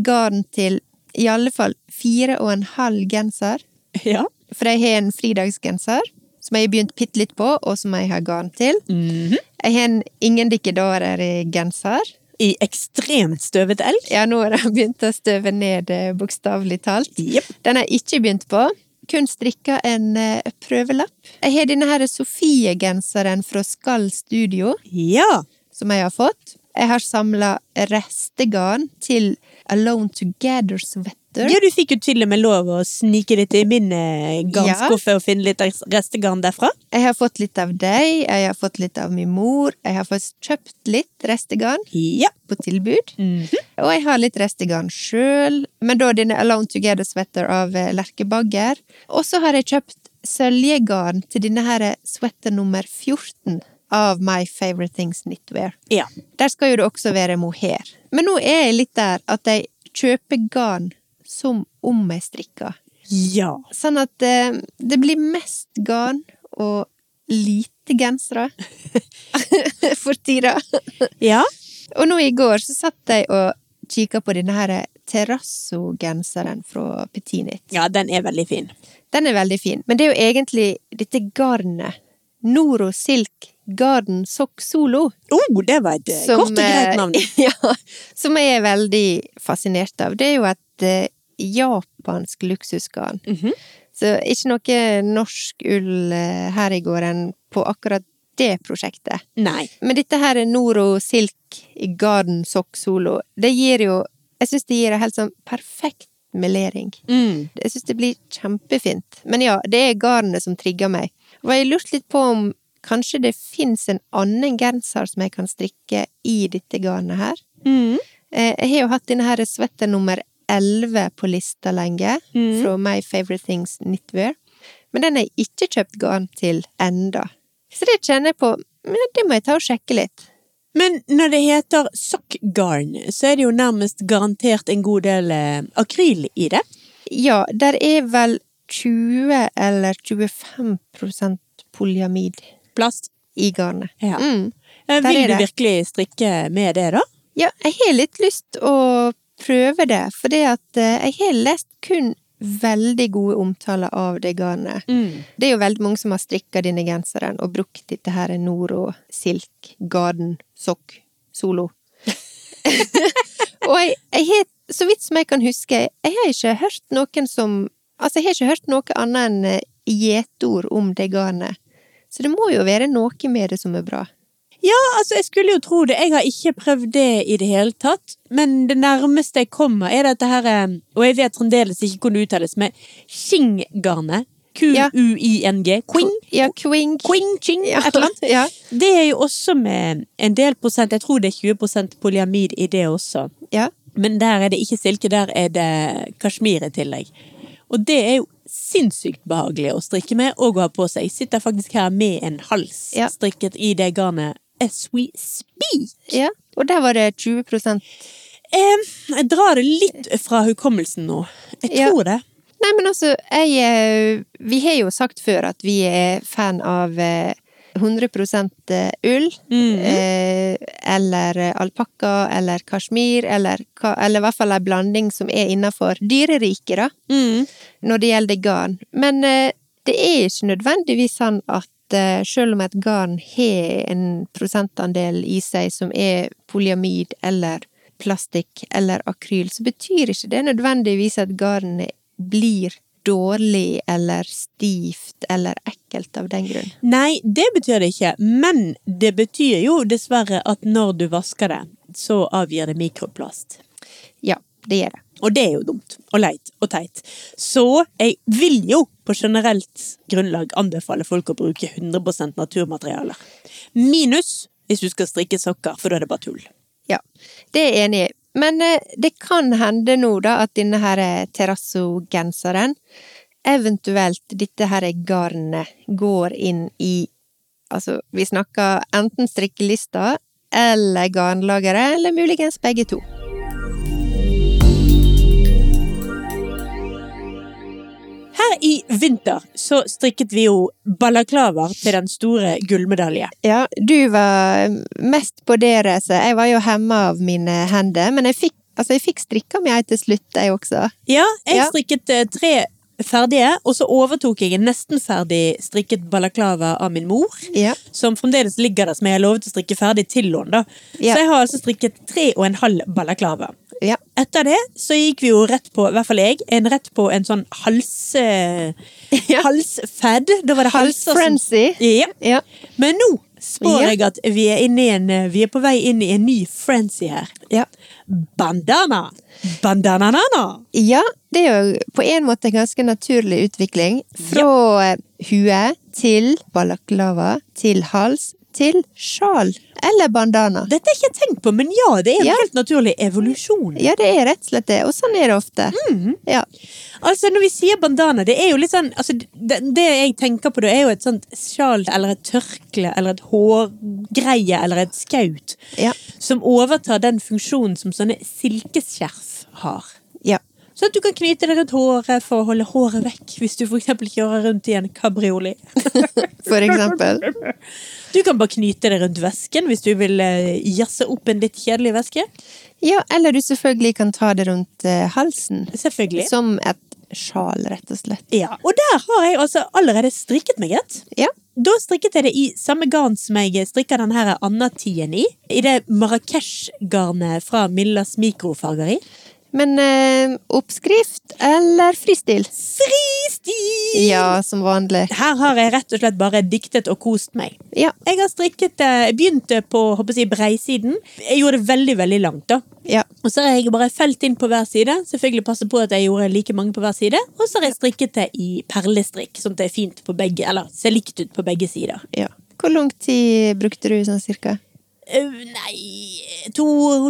S2: garn til i alle fall fire og en halv genser.
S1: Ja.
S2: For jeg har en fridagsgenser som jeg har begynt bitte litt på, og som jeg har garn til.
S1: Mhm.
S2: Jeg har en ingen dikkedarer-genser.
S1: I ekstremt støvet elg?
S2: Ja, nå har jeg begynt å støve ned, eh, bokstavelig talt.
S1: Jepp.
S2: Den har jeg ikke begynt på. Kun strikka en eh, prøvelapp. Jeg har denne her Sofie-genseren fra Skall Studio,
S1: Ja.
S2: som jeg har fått. Jeg har samla restegarn til Alone Together Sweater.
S1: Ja, du fikk jo til og med lov å snike litt i min eh, garnskuffe og finne litt restegarn derfra.
S2: Jeg har fått litt av deg, jeg har fått litt av min mor. Jeg har fått kjøpt litt restegarn
S1: Ja.
S2: på tilbud.
S1: Mhm.
S2: Og jeg har litt restegarn sjøl, men da denne Alone Together Sweater av eh, Lerke Bagger. Og så har jeg kjøpt søljegarn til denne her eh, sweater nummer 14 av My Favorite Things Knitwear.
S1: ja.
S2: Der skal jo det også være mohair. Men nå er jeg litt der at jeg kjøper garn som om jeg strikker.
S1: Ja.
S2: Sånn at eh, det blir mest garn og lite gensere for tida.
S1: Ja.
S2: Og nå i går så satt jeg og kikka på denne her terrasso-genseren fra Petinit.
S1: Ja, den er veldig fin.
S2: Den er veldig fin, men det er jo egentlig dette garnet. Noro Silk Garden Sock Solo.
S1: Oh, det var et eh, kort og greit navn.
S2: eh, Ja, som jeg er veldig fascinert av. Det er jo et eh, japansk luksusgarn.
S1: Mhm.
S2: Så ikke noe norsk ull eh, her i gården på akkurat det prosjektet.
S1: Nei.
S2: Men dette her er Noro Silk Garden Sock Solo. Det gir jo Jeg syns det gir en helt sånn perfekt melering.
S1: Mm.
S2: Jeg syns det blir kjempefint. Men ja, det er garnet som trigger meg. Og jeg lurte litt på om kanskje det fins en annen genser som jeg kan strikke i dette garnet her.
S1: Mm.
S2: Eh, Jeg har jo hatt denne her sweater nummer 11 på lista lenge,
S1: Mhm.
S2: fra My Favorite Things Knitwear. Men den har jeg ikke kjøpt garn til enda. Så det kjenner jeg på, men det må jeg ta og sjekke litt.
S1: Men når det heter sokkgarn, så er det jo nærmest garantert en god del eh, akryl i det.
S2: Ja, der er vel 20 eller 25 prosent polyamid
S1: Plast.
S2: i garnet.
S1: Ja.
S2: Mm.
S1: Eh,
S2: Der
S1: Vil
S2: er
S1: du
S2: det.
S1: virkelig strikke med det, da?
S2: Ja, jeg har litt lyst å prøve det, for det at eh, jeg har lest kun veldig gode omtaler av det garnet. Det er jo veldig mange som har strikka denne genseren og brukt dette her Noro Silk Garden Sokk Solo. og jeg, jeg har, så vidt som jeg kan huske, jeg har ikke hørt noen som Altså, jeg har ikke hørt noe annet enn eh, gjetord om det garnet. Så det må jo være noe med det som er bra.
S1: Ja, altså, jeg skulle jo tro det. Jeg har ikke prøvd det i det hele tatt. Men det nærmeste jeg kommer, er dette her eh, Og jeg vet fremdeles ikke hvordan det uttales, men Qing-garnet.
S2: Ja.
S1: Q-u-i-n-g. Quing.
S2: Ja, Quing.
S1: Quing, ching,
S2: Ja,
S1: et eller annet.
S2: Ja.
S1: Det er jo også med en del prosent, jeg tror det er 20 polyamid i det også.
S2: ja.
S1: Men der er det ikke silke, der er det kasjmir i tillegg. Og det er jo sinnssykt behagelig å strikke med og å ha på seg. Jeg sitter faktisk her med en hals
S2: Ja.
S1: strikket i det garnet. as we speak.
S2: Ja. Og der var det 20
S1: Eh, jeg drar det litt fra hukommelsen nå. Jeg
S2: Ja.
S1: tror det.
S2: Nei, men altså, jeg eh, Vi har jo sagt før at vi er fan av eh, 100 ull.
S1: Mhm. Mm.
S2: eh, Eller alpakka eller kasjmir, eller, hva- eller i hvert fall en blanding som er innenfor dyreriket, da,
S1: Mm.
S2: når det gjelder garn. Men eh, det er ikke nødvendigvis sånn at eh, selv om et garn har en prosentandel i seg som er polyamid eller plastikk eller akryl, så betyr ikke det nødvendigvis at garnet blir dårlig eller stivt eller ekkelt av den grunn.
S1: Nei, det betyr det ikke. Men det betyr jo dessverre at når du vasker det, så avgir det mikroplast.
S2: Ja, det gjør det.
S1: Og det er jo dumt og leit og teit. Så jeg vil jo på generelt grunnlag anbefale folk å bruke 100 naturmaterialer. Minus hvis du skal strikke sokker, for da er det bare tull.
S2: Ja, det er jeg enig i. Men eh, det kan hende nå, da, at denne her eh, terrassogenseren, eventuelt dette her garnet, går inn i Altså, vi snakker enten strikkelista eller garnlageret, eller muligens begge to.
S1: Her i vinter så strikket vi jo balaklavaer til den store gullmedalje.
S2: Ja, du var eh, mest på det racet. Jeg var jo hemma av mine hender, men jeg fikk, altså, jeg fikk strikka mi ei til slutt, jeg også.
S1: Ja, jeg
S2: Ja.
S1: strikket eh, tre ferdige, og så overtok jeg en nesten ferdig strikket balaklava av min mor.
S2: Ja.
S1: Som fremdeles ligger der, som jeg har lovet å strikke ferdig til lån. da.
S2: Ja.
S1: Så jeg har altså strikket tre og en halv balaklava.
S2: ja.
S1: Etter det så gikk vi jo rett på, i hvert fall jeg, en rett på en sånn hals... eh,
S2: Ja.
S1: Halsfad. Da var det halser som-
S2: Halsfrenzy.
S1: Ja.
S2: Ja.
S1: Men nå spår
S2: Ja.
S1: jeg at vi er, inne i en, eh, vi er på vei inn i en ny frenzy her.
S2: ja.
S1: Bandana! Bandananana!
S2: Ja, det er jo på en måte en ganske naturlig utvikling. Fra eh, hue til balaklava, til hals, til sjal eller bandana.
S1: Dette har jeg ikke tenkt på, men ja, det er en
S2: Ja.
S1: helt naturlig evolusjon.
S2: Ja, det er rett og slett det, og sånn er det ofte. Ja.
S1: Altså, når vi sier bandana, det er jo litt sånn altså, det, det jeg tenker på, det er jo et sånt sjal eller et tørkle eller et hårgreie eller et skaut
S2: Ja.
S1: som overtar den funksjonen som sånne silkeskjerf har.
S2: ja.
S1: Sånn at du kan knyte det rundt håret for å holde håret vekk hvis du for eksempel kjører rundt i en kabriolet.
S2: For eksempel.
S1: Du kan bare knyte det rundt vesken hvis du vil eh, jazze opp en litt kjedelig veske.
S2: Ja, eller du selvfølgelig kan ta det rundt eh, halsen.
S1: Selvfølgelig.
S2: Som et sjal, rett og slett.
S1: Ja, og der har jeg altså allerede strikket meg et.
S2: Ja.
S1: Da strikket jeg det i samme garn som jeg strikker den her Anna-tien i. I det Marrakech-garnet fra Millas mikrofargeri.
S2: Men eh, oppskrift eller fristil?
S1: Fristil!
S2: Ja, som vanlig.
S1: Her har jeg rett og slett bare diktet og kost meg.
S2: Ja.
S1: Jeg har strikket det, jeg begynte på håper jeg, breisiden. Jeg gjorde det veldig, veldig langt da.
S2: Ja.
S1: Og så har jeg bare felt inn på hver side, selvfølgelig passet på at jeg gjorde like mange på hver side. Og så har jeg strikket det i perlestrikk, sånn at det er fint på begge, eller ser likt ut på begge sider.
S2: ja. Hvor lang tid brukte du sånn cirka?
S1: Eh, Nei to,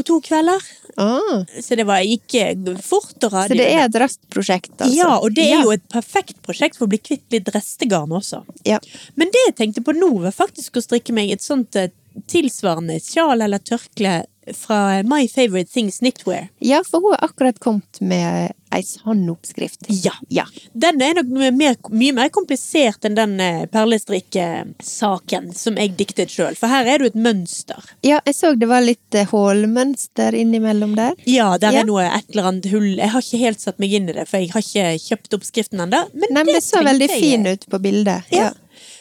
S1: to kvelder.
S2: Ah.
S1: Så det var, gikk eh, fort og
S2: Så
S1: radig.
S2: det er et raskt prosjekt, altså?
S1: Ja, og det er
S2: Ja.
S1: jo et perfekt prosjekt for å bli kvitt litt restegarn også.
S2: Ja.
S1: Men det jeg tenkte på nå, var faktisk å strikke meg et sånt eh, tilsvarende sjal eller tørkle fra eh, My Favorite Things Knitwear.
S2: ja, for hun har akkurat kommet med ei sånn oppskrift.
S1: Ja.
S2: Ja.
S1: Den er nok mye mer, mye mer komplisert enn den eh, perlestrikkesaken som jeg diktet sjøl, for her er det jo et mønster.
S2: Ja, jeg så det var litt eh, hålmønster innimellom der.
S1: Ja, der
S2: Ja.
S1: er noe et eller annet hull. Jeg har ikke helt satt meg inn i det, for jeg har ikke kjøpt oppskriften ennå. Men
S2: Nei, men det så
S1: tenkte
S2: veldig
S1: jeg- eh,
S2: fin ut på bildet.
S1: Ja.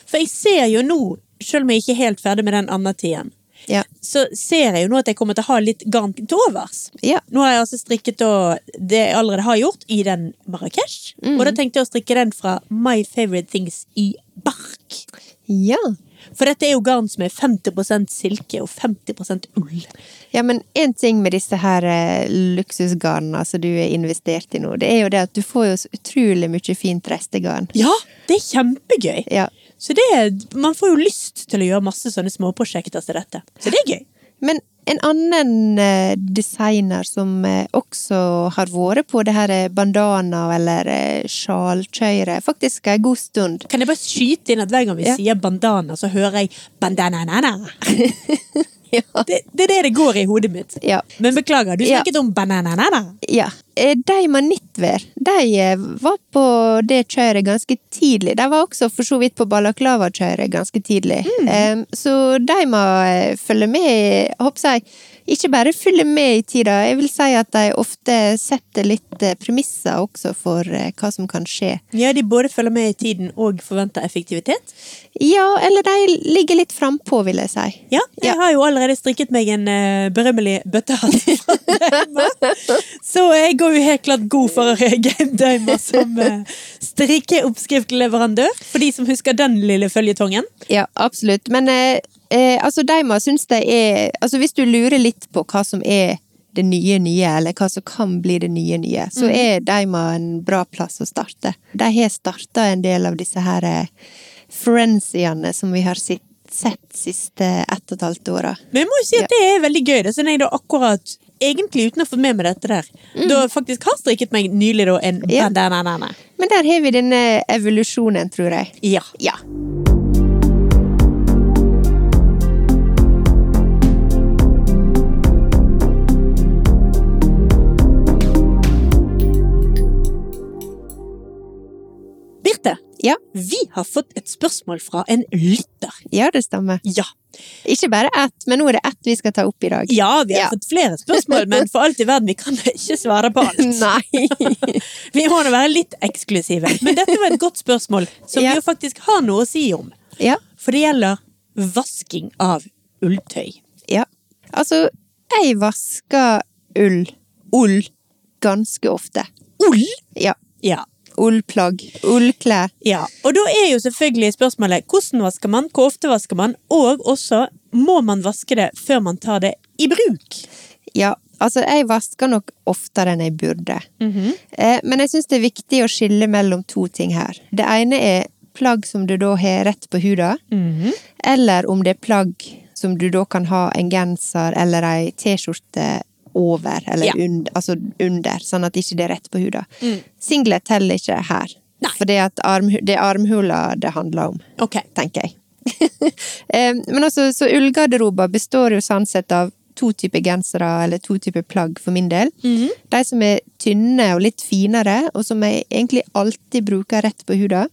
S1: For jeg ser jo nå, selv om jeg ikke er helt ferdig med den andre tiden,
S2: Ja.
S1: så ser jeg jo nå at jeg kommer til å ha litt garn til overs.
S2: Ja.
S1: Nå har jeg altså strikket da det jeg allerede har gjort, i den Marrakech. Og da tenkte jeg å strikke den fra My Favorite Things i bark.
S2: ja.
S1: For dette er jo garn som er 50 silke og 50 ull.
S2: Ja, men én ting med disse her eh, luksusgarnene som du er investert i nå, det er jo det at du får jo så utrolig mye fint restegarn.
S1: Ja, det er kjempegøy.
S2: Ja.
S1: Så det, er- man får jo lyst til å gjøre masse sånne småprosjekter som dette. Så det er gøy.
S2: Men En annen eh, designer som eh, også har vært på det her eh, bandana- eller eh, sjalkjøret, faktisk en god stund.
S1: Kan jeg bare skyte inn at hver gang vi
S2: Ja.
S1: sier bandana, så hører jeg bandananana.
S2: Ja.
S1: Det, det er det det går i hodet mitt.
S2: Ja.
S1: Men beklager, du
S2: Ja.
S1: snakket om banananana.
S2: Ja. Eh, De med knitwear, de eh, var på det kjøret ganske tidlig. De var også for så vidt på balaklava-kjøret ganske tidlig. Eh, Så de må eh, følge med, håper jeg. Ikke bare følge med i tida, jeg vil si at de ofte setter litt eh, premisser også for eh, hva som kan skje.
S1: Ja, de både følger med i tiden og forventer effektivitet.
S2: Ja, eller de ligger litt frampå, vil jeg si.
S1: Ja, jeg
S2: Ja.
S1: har jo allerede strikket meg en eh, berømmelig bøttehatt. fra Daimar. Så jeg går jo helt klart god for eh, Game Damer som eh, strikkeoppskriftleverandør. For de som husker den lille føljetongen.
S2: Ja, absolutt. Men eh, eh, altså, de må synes det er Altså, hvis du lurer litt på hva som er det nye nye, eller hva som kan bli det nye nye, så er Deima en bra plass å starte. De har starta en del av disse her eh, forensiene som vi har sett, sett siste ett og et halvt åra.
S1: Men jeg må jo si at det er veldig gøy. Det er sånn jeg da akkurat, egentlig uten å få med meg dette der, da faktisk har strikket meg nylig da en
S2: Mm. Ja.
S1: bandana.
S2: Men der har vi denne evolusjonen, tror jeg.
S1: Ja.
S2: Ja.
S1: Birte,
S2: Ja,
S1: vi har fått et spørsmål fra en lytter.
S2: ja det stemmer.
S1: Ja.
S2: Ikke bare ett, men nå er det ett vi skal ta opp i dag.
S1: Ja, vi har
S2: Ja.
S1: fått flere spørsmål, men for alt i verden, vi kan ikke svare på alt.
S2: Nei.
S1: Vi må da være litt eksklusive. Men dette var et godt spørsmål, som
S2: Ja.
S1: vi jo faktisk har noe å si om.
S2: ja.
S1: For det gjelder vasking av ulltøy.
S2: Ja. Altså, jeg vasker ull. Ull. Ganske ofte.
S1: Ull?
S2: Ja.
S1: Ja.
S2: Ullplagg. Ullklær.
S1: ja. Og da er jo selvfølgelig spørsmålet hvordan vasker man, hvor ofte vasker man, og også må man vaske det før man tar det i bruk?
S2: Ja. Altså, jeg vasker nok oftere enn jeg burde.
S1: Mhm.
S2: eh, men jeg syns det er viktig å skille mellom to ting her. Det ene er plagg som du da har rett på huda,
S1: Mhm.
S2: eller om det er plagg som du da kan ha en genser eller ei T-skjorte over, eller
S1: Ja. Mm.
S2: und, altså under, sånn at ikke det er rett på huda. Singlet teller ikke her.
S1: Nei.
S2: For det er armhu- det er armhula det handler om
S1: Ok.
S2: tenker jeg. Eh, Men altså, så ullgarderober består jo sånn sett av to typer gensere, eller to typer plagg, for min del. De som er tynne og litt finere, og som jeg egentlig alltid bruker rett på huda.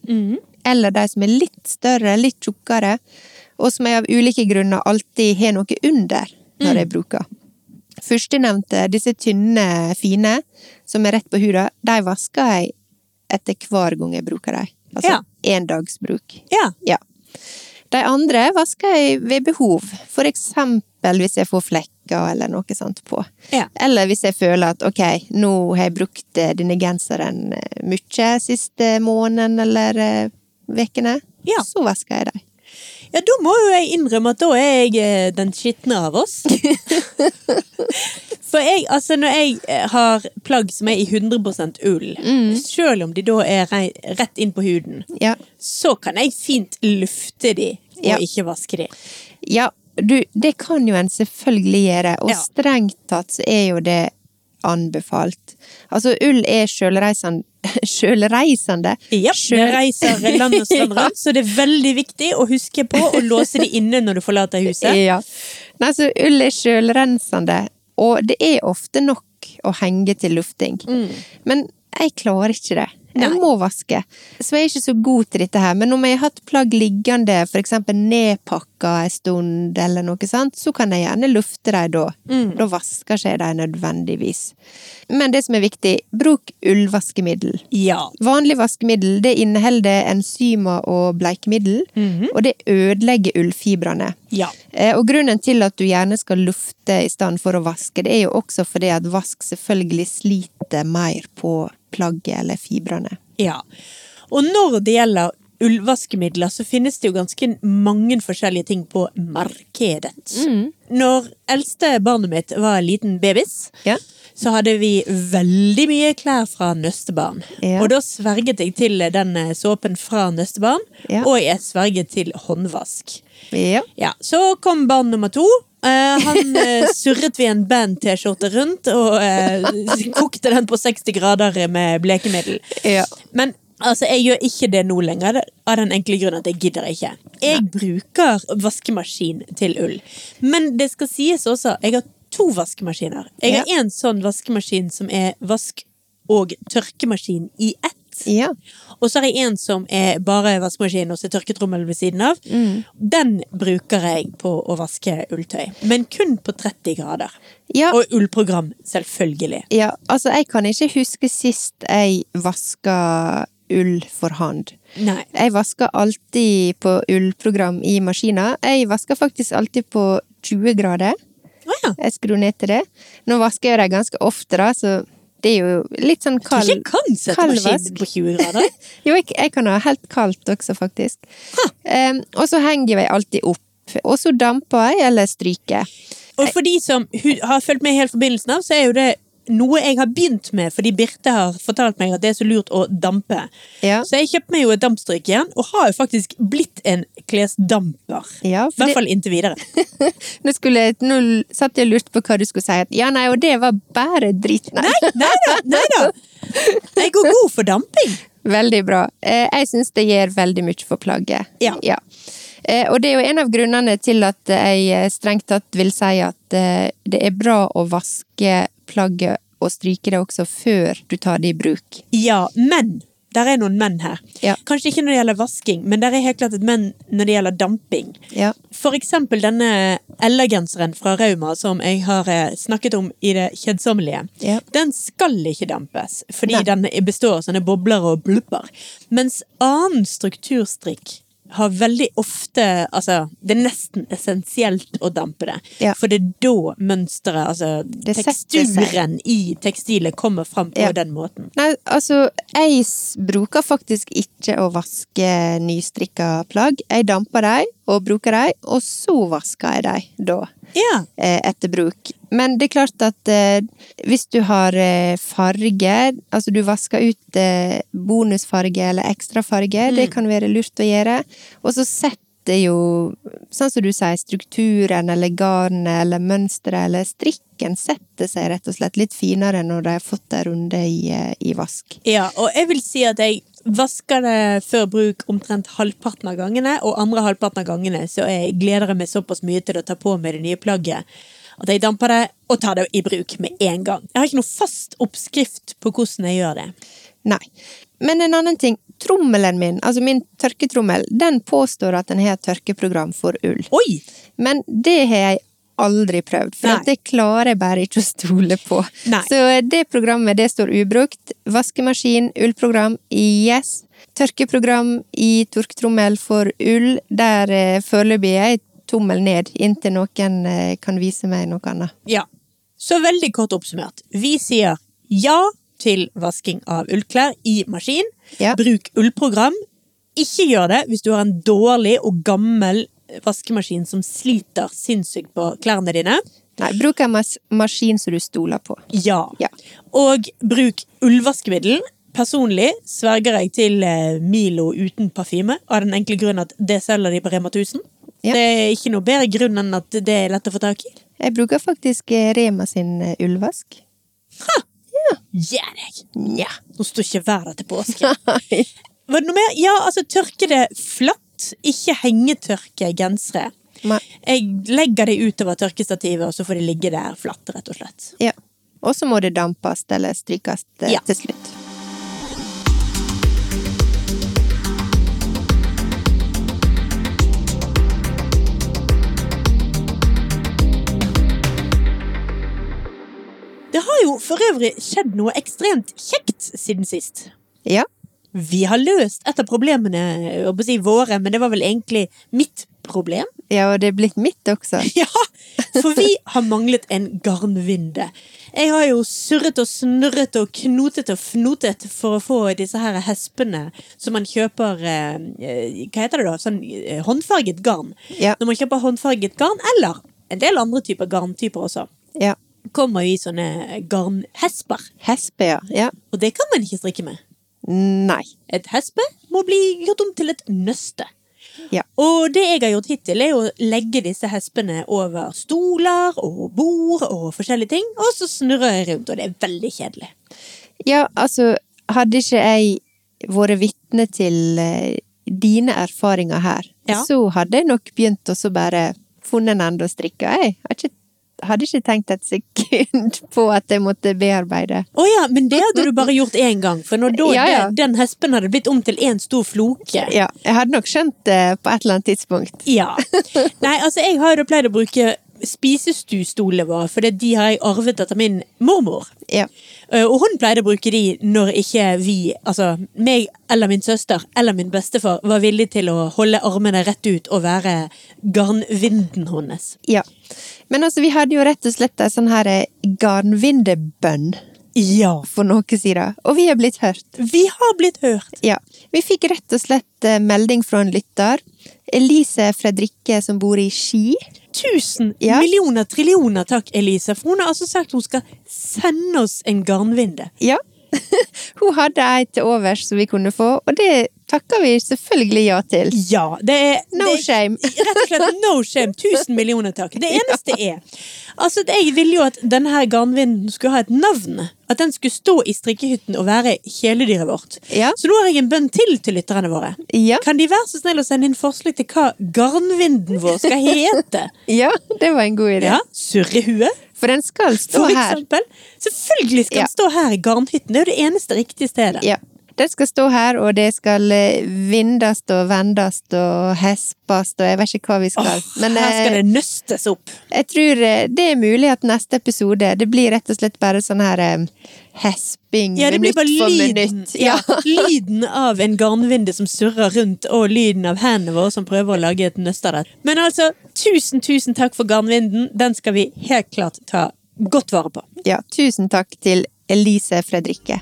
S2: Eller de som er litt større, litt tjukkere, og som jeg av ulike grunner alltid har noe under når jeg bruker. Førstenevnte, disse tynne, fine, som er rett på huda, de vasker jeg etter hver gang jeg bruker dem. Altså endagsbruk.
S1: Ja.
S2: Ja. De andre vasker jeg ved behov, for eksempel hvis jeg får flekker eller noe sånt på.
S1: Ja.
S2: Eller hvis jeg føler at ok, nå har jeg brukt eh, denne genseren eh, mye siste måneden eller eh, ukene,
S1: Ja.
S2: så vasker jeg dem.
S1: Ja, da må jo jeg innrømme at da er jeg eh, den skitne av oss. For jeg, altså når jeg eh, har plagg som er i 100 ull, selv om de da er rei, rett inn på huden,
S2: Ja.
S1: så kan jeg fint lufte de og
S2: Ja.
S1: ikke vaske de.
S2: ja, du, det kan jo en selvfølgelig gjøre, og
S1: Ja.
S2: strengt tatt så er jo det anbefalt. Altså, ull er sjølreisende Sjølreisende?
S1: Ja, det
S2: Sjøl-
S1: reiser land og strand
S2: Ja.
S1: rundt, så det er veldig viktig å huske på å låse de inne når du forlater huset.
S2: Ja. Nei, så ull er sjølrensende, og det er ofte nok å henge til lufting. Men jeg klarer ikke det. Jeg
S1: Nei.
S2: må vaske. Så jeg er ikke så god til dette her. Men om jeg har hatt plagg liggende, f.eks. nedpakka en stund, eller noe sånt, så kan jeg gjerne lufte dem da. Da vasker ikke jeg dem nødvendigvis. Men det som er viktig, bruk ullvaskemiddel.
S1: Ja.
S2: Vanlig vaskemiddel det inneholder enzymer og bleikemiddel, og det ødelegger ullfibrene.
S1: Ja.
S2: Eh, Og grunnen til at du gjerne skal lufte i stedet for å vaske, det er jo også fordi at vask selvfølgelig sliter mer på plagget eller fibrene.
S1: Ja. Og når det gjelder ullvaskemidler, så finnes det jo ganske mange forskjellige ting på markedet.
S2: Mm.
S1: Når eldste barnet mitt var en liten babys,
S2: Ja.
S1: så hadde vi veldig mye klær fra Nøstebarn.
S2: Ja.
S1: Og da sverget jeg til den eh, såpen fra Nøstebarn,
S2: Ja.
S1: og jeg sverget til håndvask.
S2: Ja.
S1: Ja, Så kom barn nummer to, Eh, han eh, surret vi en band-T-skjorte rundt og eh, kokte den på 60 grader med blekemiddel.
S2: Ja.
S1: Men altså, jeg gjør ikke det nå lenger, av den enkle grunn at jeg gidder ikke. Jeg bruker vaskemaskin til ull. Men det skal sies også, jeg har to vaskemaskiner. Jeg har en sånn vaskemaskin som er vask- og tørkemaskin i ett.
S2: Ja.
S1: Og så har jeg en som er bare vaskemaskin og så er tørketrommel ved siden av.
S2: Mm.
S1: Den bruker jeg på å vaske ulltøy, men kun på 30 grader.
S2: Ja.
S1: Og ullprogram, selvfølgelig.
S2: ja. Altså, jeg kan ikke huske sist jeg vaska ull for hånd.
S1: Nei.
S2: Jeg vasker alltid på ullprogram i maskina. Jeg vasker faktisk alltid på 20 grader.
S1: Å ja.
S2: Jeg skrur ned til det. Nå vasker jeg dem ganske ofte, da, så det er jo litt sånn
S1: Du
S2: kald
S1: ikke kan sette
S2: kald
S1: maskinen
S2: vask.
S1: på 20 grader?
S2: Jo, jeg, jeg kan ha helt kaldt også, faktisk. Em, og så henger jeg alltid opp. Og så damper jeg, eller stryker.
S1: Og for de som hu- har fulgt med helt forbindelsen av, så er jo det noe jeg har begynt med, fordi Birte har fortalt meg at det er så lurt å dampe.
S2: Ja.
S1: Så jeg kjøpte meg jo et dampstrykejern, og har jo faktisk blitt en klesdamper.
S2: Ja,
S1: I hvert
S2: fordi-
S1: fall inntil videre.
S2: Nå, skulle, jeg- nå satt jeg og lurte på hva du skulle si. At, ja, nei, og det var bare dritt. Nei.
S1: Nei da, nei da. Jeg går god for damping.
S2: Veldig bra. Eh, jeg syns det gjør veldig mye for plagget.
S1: Ja.
S2: Eh, og det er jo en av grunnene til at jeg eh, strengt tatt vil si at eh, det er bra å vaske plagget og stryke det også før du tar det i bruk.
S1: Ja, men. Der er noen menn her.
S2: Ja.
S1: Kanskje ikke når det gjelder vasking, men der er helt klart et menn når det gjelder damping.
S2: Ja.
S1: For eksempel denne Ella-genseren fra Rauma som jeg har eh, snakket om i det kjedsommelige.
S2: Ja.
S1: Den skal ikke dampes, fordi
S2: Nei.
S1: den består av sånne bobler og blupper. Mens annen strukturstrikk har veldig ofte Altså, det er nesten essensielt å dampe det.
S2: Ja.
S1: For det er da mønsteret, altså
S2: setter seg.
S1: teksturen i tekstilet, kommer fram på
S2: Ja.
S1: den måten.
S2: Nei, altså, jeg s- bruker faktisk ikke å vaske nystrikka plagg. Jeg damper dem og bruker dem, og så vasker jeg dem da.
S1: Ja.
S2: eh, etter bruk. Men det er klart at eh, hvis du har eh, farge, altså du vasker ut eh, bonusfarge eller ekstra farge, det kan være lurt å gjøre. Og så setter jo, sånn som du sier, strukturen eller garnet eller mønsteret eller strikken setter seg rett og slett litt finere når de har fått en runde i, eh, i vask.
S1: Ja, og jeg vil si at jeg vasker det før bruk omtrent halvparten av gangene, og andre halvparten av gangene så jeg gleder jeg meg såpass mye til å ta på meg det nye plagget at jeg damper det og tar det i bruk med en gang. Jeg har ikke noe fast oppskrift på hvordan jeg gjør det.
S2: Nei. Men en annen ting, trommelen min, altså min tørketrommel, den påstår at den har et tørkeprogram for ull.
S1: Oi!
S2: Men det har jeg aldri prøvd, for
S1: Nei.
S2: at det klarer jeg bare ikke å stole på.
S1: Nei.
S2: Så eh, det programmet det står ubrukt. Vaskemaskin, ullprogram i Yes. Tørkeprogram i torktrommel for ull. Der eh, foreløpig er jeg tommel ned, inntil noen eh, kan vise meg noe annet.
S1: Ja. Så veldig kort oppsummert. Vi sier ja til vasking av ullklær i maskin.
S2: Ja.
S1: Bruk ullprogram. Ikke gjør det hvis du har en dårlig og gammel vaskemaskin som sliter sinnssykt på klærne dine.
S2: Nei, bruk en mas maskin som du stoler på.
S1: Ja.
S2: Ja.
S1: Og bruk ullvaskemiddel. Personlig sverger jeg til eh, Milo uten parfyme, av den enkle grunn at det selger de på Rema 1000.
S2: Ja.
S1: Det er ikke noe bedre grunn enn at det er lett å få tak i.
S2: Jeg bruker faktisk eh, Rema sin eh, ullvask.
S1: Gjør deg!
S2: Nja.
S1: Nå står ikke været til påske. Var det noe mer? Ja, altså tørke det flatt. Ikke hengetørke gensere.
S2: Nei.
S1: Jeg legger det utover tørkestativet, og så får det ligge der flatt, rett og slett.
S2: Ja. Og så må det dampes eller strykes eh,
S1: Ja.
S2: til slutt.
S1: Det har jo for øvrig skjedd noe ekstremt kjekt siden sist.
S2: Ja.
S1: Vi har løst et av problemene, jeg holdt på å si våre, men det var vel egentlig mitt problem.
S2: Ja, og det er blitt mitt også.
S1: Ja, for vi har manglet en garnvinde. Jeg har jo surret og snurret og knotet og fnotet for å få disse her hespene som man kjøper eh, eh, Hva heter det da? Sånn eh, håndfarget garn.
S2: Ja.
S1: Når man kjøper håndfarget garn, eller en del andre typer garntyper også,
S2: Ja.
S1: kommer jo i sånne garnhesper.
S2: Hespe, ja. ja.
S1: Og det kan man ikke strikke med.
S2: Nei.
S1: Et hespe må bli gjort om til et nøste.
S2: Ja.
S1: Og det jeg har gjort hittil, er å legge disse hespene over stoler og bord og forskjellige ting, og så snurrer jeg rundt, og det er veldig kjedelig.
S2: Ja, altså, hadde ikke jeg vært vitne til eh, dine erfaringer her,
S1: Ja.
S2: så hadde jeg nok begynt å så bare funnet en ende og strikka, jeg. Hadde ikke, hadde ikke tenkt et sekund på at jeg måtte bearbeide.
S1: Å ja, men det hadde du bare gjort én gang, for når da
S2: Ja, ja.
S1: det- den hespen hadde blitt om til én stor floke
S2: Ja, jeg hadde nok skjønt det på et eller annet tidspunkt.
S1: Ja. Nei, altså, jeg har jo pleid å bruke spisestuestolene våre, for det- de har jeg arvet etter min mormor.
S2: Ja.
S1: Eh, Og hun pleide å bruke de når ikke vi, altså meg eller min søster eller min bestefar, var villig til å holde armene rett ut og være garnvinden hennes.
S2: ja. Men altså, vi hadde jo rett og slett en sånn her eh, garnvindebønn
S1: Ja.
S2: for noen sider, og vi er blitt hørt.
S1: Vi har blitt hørt.
S2: Ja. Vi fikk rett og slett eh, melding fra en lytter. Elise Fredrikke som bor i Ski.
S1: Tusen
S2: Ja.
S1: millioner trillioner takk, Elise. For hun har altså sagt hun skal sende oss en garnvinde.
S2: Ja. Hun hadde ei til overs som vi kunne få, og det takker vi selvfølgelig ja til.
S1: Ja, det er
S2: No
S1: det er-
S2: shame.
S1: Rett og slett no shame. Tusen millioner takk. Det eneste er Altså, jeg ville jo at denne her garnvinden skulle ha et navn. At den skulle stå i strikkehytten og være kjæledyret vårt.
S2: Ja.
S1: Så nå har jeg en bønn til til lytterne våre.
S2: Ja.
S1: Kan de være så snill å sende inn forslag til hva garnvinden vår skal hete?
S2: Ja, det var en god idé.
S1: Ja, Surrehue,
S2: For den skal stå
S1: for
S2: her.
S1: eksempel. Selvfølgelig skal
S2: Ja.
S1: den stå her i garnhytten. Det er jo det eneste riktige stedet.
S2: Ja. Den skal stå her, og det skal eh, vindes og vendes og hespes og jeg vet ikke hva vi
S1: Åh,
S2: skal. Men
S1: her skal
S2: eh,
S1: det nøstes opp.
S2: jeg tror eh, det er mulig at neste episode det blir rett og slett bare sånn her eh, hesping
S1: Ja, det blir
S2: minutt
S1: bare
S2: for
S1: lyden,
S2: minutt.
S1: ja, lyden av en garnvinde som surrer rundt, og lyden av hendene våre som prøver å lage et nøst av det. Men altså, tusen, tusen takk for garnvinden. Den skal vi helt klart ta godt vare på.
S2: Ja, tusen takk til Elise Fredrikke.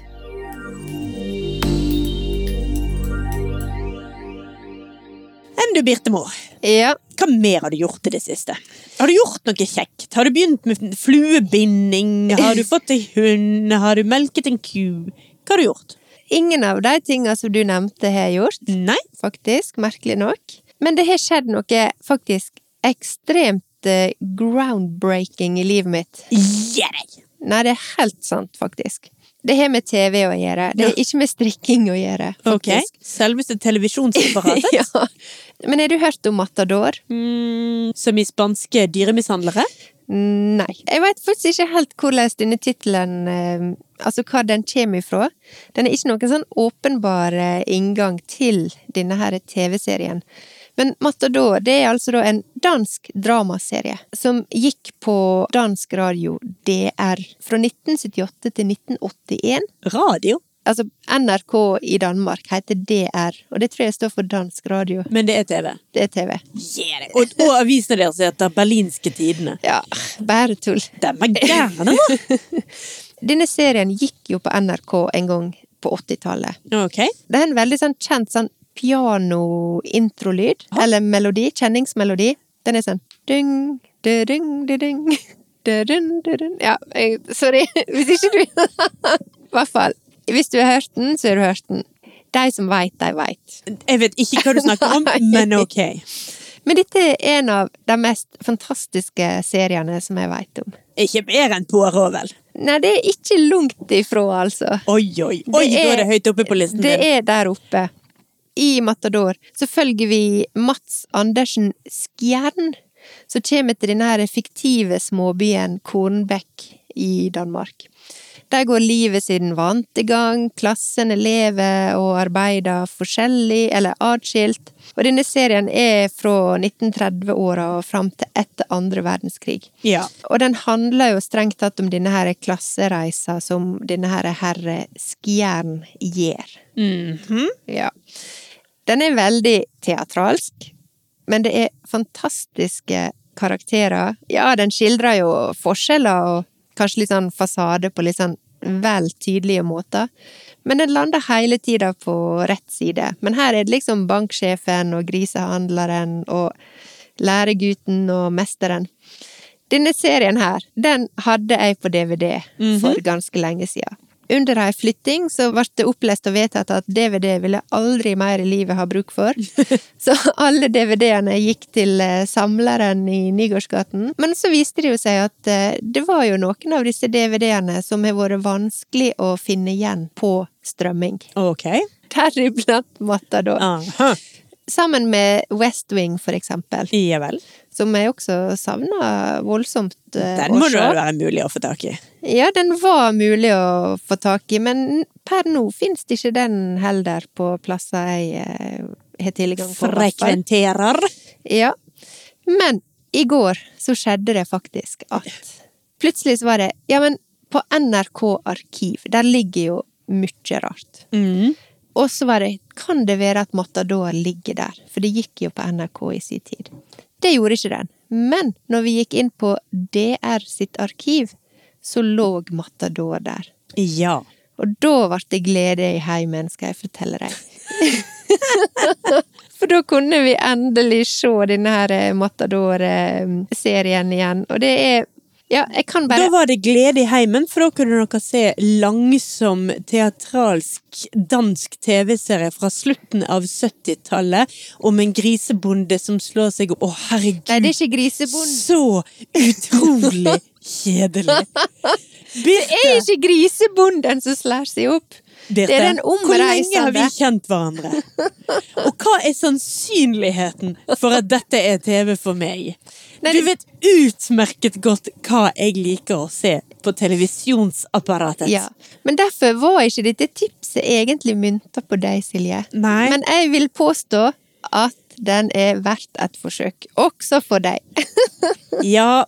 S1: Enn du, Birtemor.
S2: Ja,
S1: Hva mer har du gjort i det siste? Har du gjort noe kjekt? Har du begynt med fluebinding? Har du fått deg hund? Har du melket en ku? Hva har du gjort?
S2: ingen av de tinga som du nevnte har jeg gjort,
S1: Nei?
S2: faktisk, merkelig nok. Men det har skjedd noe faktisk ekstremt eh, groundbreaking i livet mitt.
S1: Gi deg!
S2: Nei, det er helt sant, faktisk. Det har med TV å gjøre, det har ikke med strikking å gjøre,
S1: Ok,
S2: faktisk.
S1: selveste televisjonsapparatet,
S2: ja. Men har du hørt om Matador?
S1: mm, som i spanske dyremishandlere.
S2: Nei. Jeg veit faktisk ikke helt hvordan denne tittelen eh, Altså hva den kommer ifra. Den er ikke noen sånn åpenbar eh, inngang til denne her TV-serien. Men Matador det er altså da en dansk dramaserie som gikk på dansk radio DR fra 1978 til 1981.
S1: Radio.
S2: Altså NRK i Danmark heter DR, og det tror jeg står for dansk radio.
S1: Men det er TV.
S2: Det er TV.
S1: Og, og avisene deres heter Berlinske Tidene.
S2: Ja, bare tull.
S1: Den var gæren, da!
S2: Denne serien gikk jo på NRK en gang på 80-tallet.
S1: Ok.
S2: Det er en veldig sånn kjent sånn piano-introlyd, eller melodi, kjenningsmelodi. Den er sånn dung, dung, dung, dung, dung. Ja, jeg, sorry, hvis ikke du I hvert fall. Hvis du har hørt den, så har du hørt den. De som veit, de veit.
S1: Jeg vet ikke hva du snakker om,
S2: Nei.
S1: men ok.
S2: Men dette er en av de mest fantastiske seriene som jeg veit om.
S1: Ikke mer enn Poirot, vel?
S2: Nei, det er ikke langt ifra, altså.
S1: Oi, oi, oi,
S2: Det
S1: da er det høyt oppe på listen
S2: Det
S1: din.
S2: er der oppe. I Matador så følger vi Mats Andersen Skjern, som kommer til denne her fiktive småbyen Kornbekk i Danmark. Der går livet sin vante gang, klassene lever og arbeider forskjellig eller atskilt. Og denne serien er fra 1930-åra og fram til etter andre verdenskrig.
S1: Ja.
S2: Og den handler jo strengt tatt om denne her klassereisa som denne her herre Skjern gjør.
S1: Mhm.
S2: Ja. Den er veldig teatralsk, men det er fantastiske karakterer. Ja, den skildrer jo forskjeller og kanskje litt sånn fasade på litt sånn vel tydelige måter. Men den lander hele tida på rett side. Men her er det liksom banksjefen og grisehandleren og læregutten og mesteren. Denne serien her, den hadde jeg på DVD for ganske lenge siden. Under ei flytting så ble det opplest og vedtatt at DVD ville jeg aldri mer i livet ha bruk for. Så alle DVD-ene gikk til eh, samleren i Nygårdsgaten. Men så viste det jo seg at eh, det var jo noen av disse DVD-ene som har vært vanskelig å finne igjen på strømming.
S1: OK.
S2: Deriblant Matador.
S1: Aha.
S2: Sammen med West Wing, for eksempel,
S1: Ja vel.
S2: som jeg også savna voldsomt. eh,
S1: Den
S2: å
S1: må
S2: se.
S1: det være mulig å få tak i.
S2: Ja, den var mulig å få tak i, men per nå finnes det ikke den heller på plasser jeg eh, har tilgang på. i hvert fall.
S1: Frekventerer.
S2: Ja. Men i går så skjedde det faktisk at Plutselig så var det Ja, men på NRK Arkiv, der ligger jo mye rart.
S1: Mm.
S2: Og så var det Kan det være at Matador ligger der? For det gikk jo på NRK i sin tid. Det gjorde ikke den. Men når vi gikk inn på DR sitt arkiv, så lå Matador der.
S1: Ja.
S2: Og da ble det glede i heimen, skal jeg fortelle deg. For da kunne vi endelig se denne her eh, Matador-serien igjen. Og det er Ja, jeg kan bare
S1: Da var det glede i heimen, for da kunne dere se langsom, teatralsk dansk TV-serie fra slutten av 70-tallet om en grisebonde som slår seg opp. Å, herregud!
S2: Nei, det er ikke grisebonden.
S1: Så utrolig kjedelig!
S2: Det er ikke grisebonden som slår seg opp!
S1: Birte,
S2: Det er den
S1: Hvor lenge har vi
S2: omreisende.
S1: kjent hverandre? Og hva er sannsynligheten for at dette er TV for meg?
S2: Nei,
S1: Du
S2: det-
S1: vet utmerket godt hva jeg liker å se på televisjonsapparatet.
S2: Ja. Men derfor var ikke dette tipset egentlig mynta på deg, Silje.
S1: Nei.
S2: Men jeg vil påstå at den er verdt et forsøk, også for deg.
S1: Ja,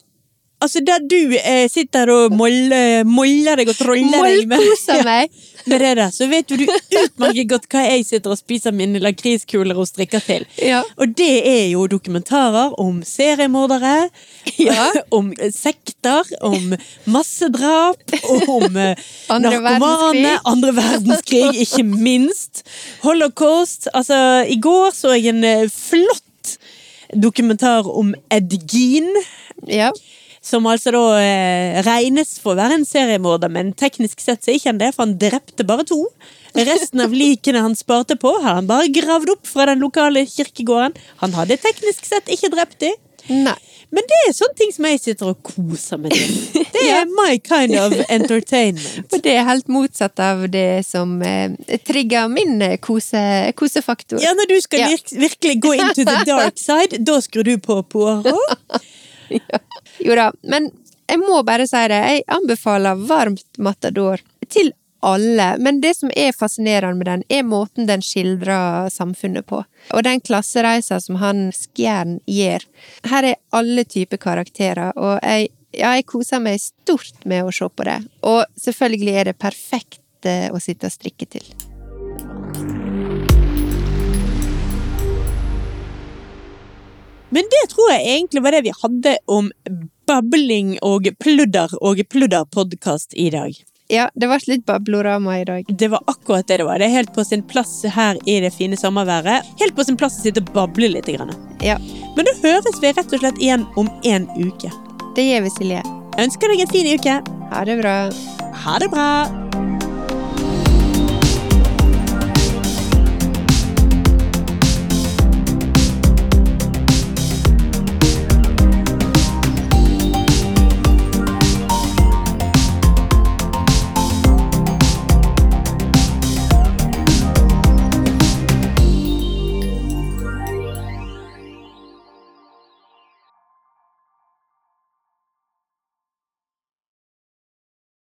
S1: altså der du eh, sitter og moller, moller deg og troller deg med,
S2: Målkosa meg!
S1: med det der, så vet jo du utmerket godt hva jeg sitter og spiser mine lakriskuler og strikker til.
S2: Ja.
S1: Og det er jo dokumentarer om seriemordere,
S2: Ja.
S1: om sekter, om massedrap, om eh,
S2: Andre
S1: narkomane,
S2: verdenskrig.
S1: andre verdenskrig, ikke minst. Holocaust. Altså, i går så jeg en eh, flott dokumentar om Ed Gein,
S2: ja.
S1: som altså da eh, regnes for å være en seriemorder, men teknisk sett så er ikke han det, for han drepte bare to. Resten av likene han sparte på, har han bare gravd opp fra den lokale kirkegården. Han hadde teknisk sett ikke drept de.
S2: Nei.
S1: Men det er sånne ting som jeg sitter og koser meg til. Det er my kind of entertainment.
S2: Og det er helt motsatt av det som eh, trigger min eh, kose, kosefaktor.
S1: Ja, når du skal
S2: Ja.
S1: virk- virkelig gå into the dark side, da skrur du på påra.
S2: Jo da, men jeg må bare si det. Jeg anbefaler varmt Matador til alle. Men det som er fascinerende med den, er måten den skildrer samfunnet på. Og den klassereisa som han Skjern gjør. Her er alle typer karakterer, og jeg, ja, jeg koser meg stort med å se på det. Og selvfølgelig er det perfekt eh, å sitte og strikke til.
S1: Men det tror jeg egentlig var det vi hadde om babling og pludder og pludderpodkast i dag.
S2: Ja, det ble litt bablorama i dag.
S1: Det var akkurat det det var. Det er helt på sin plass her i det fine sommerværet. Helt på sin plass å sitte og bable litt. Grann.
S2: Ja,
S1: Men da høres vi rett og slett igjen om en uke.
S2: det gjør vi, Silje.
S1: Jeg ønsker deg en fin uke.
S2: Ha det bra.
S1: Ha det bra!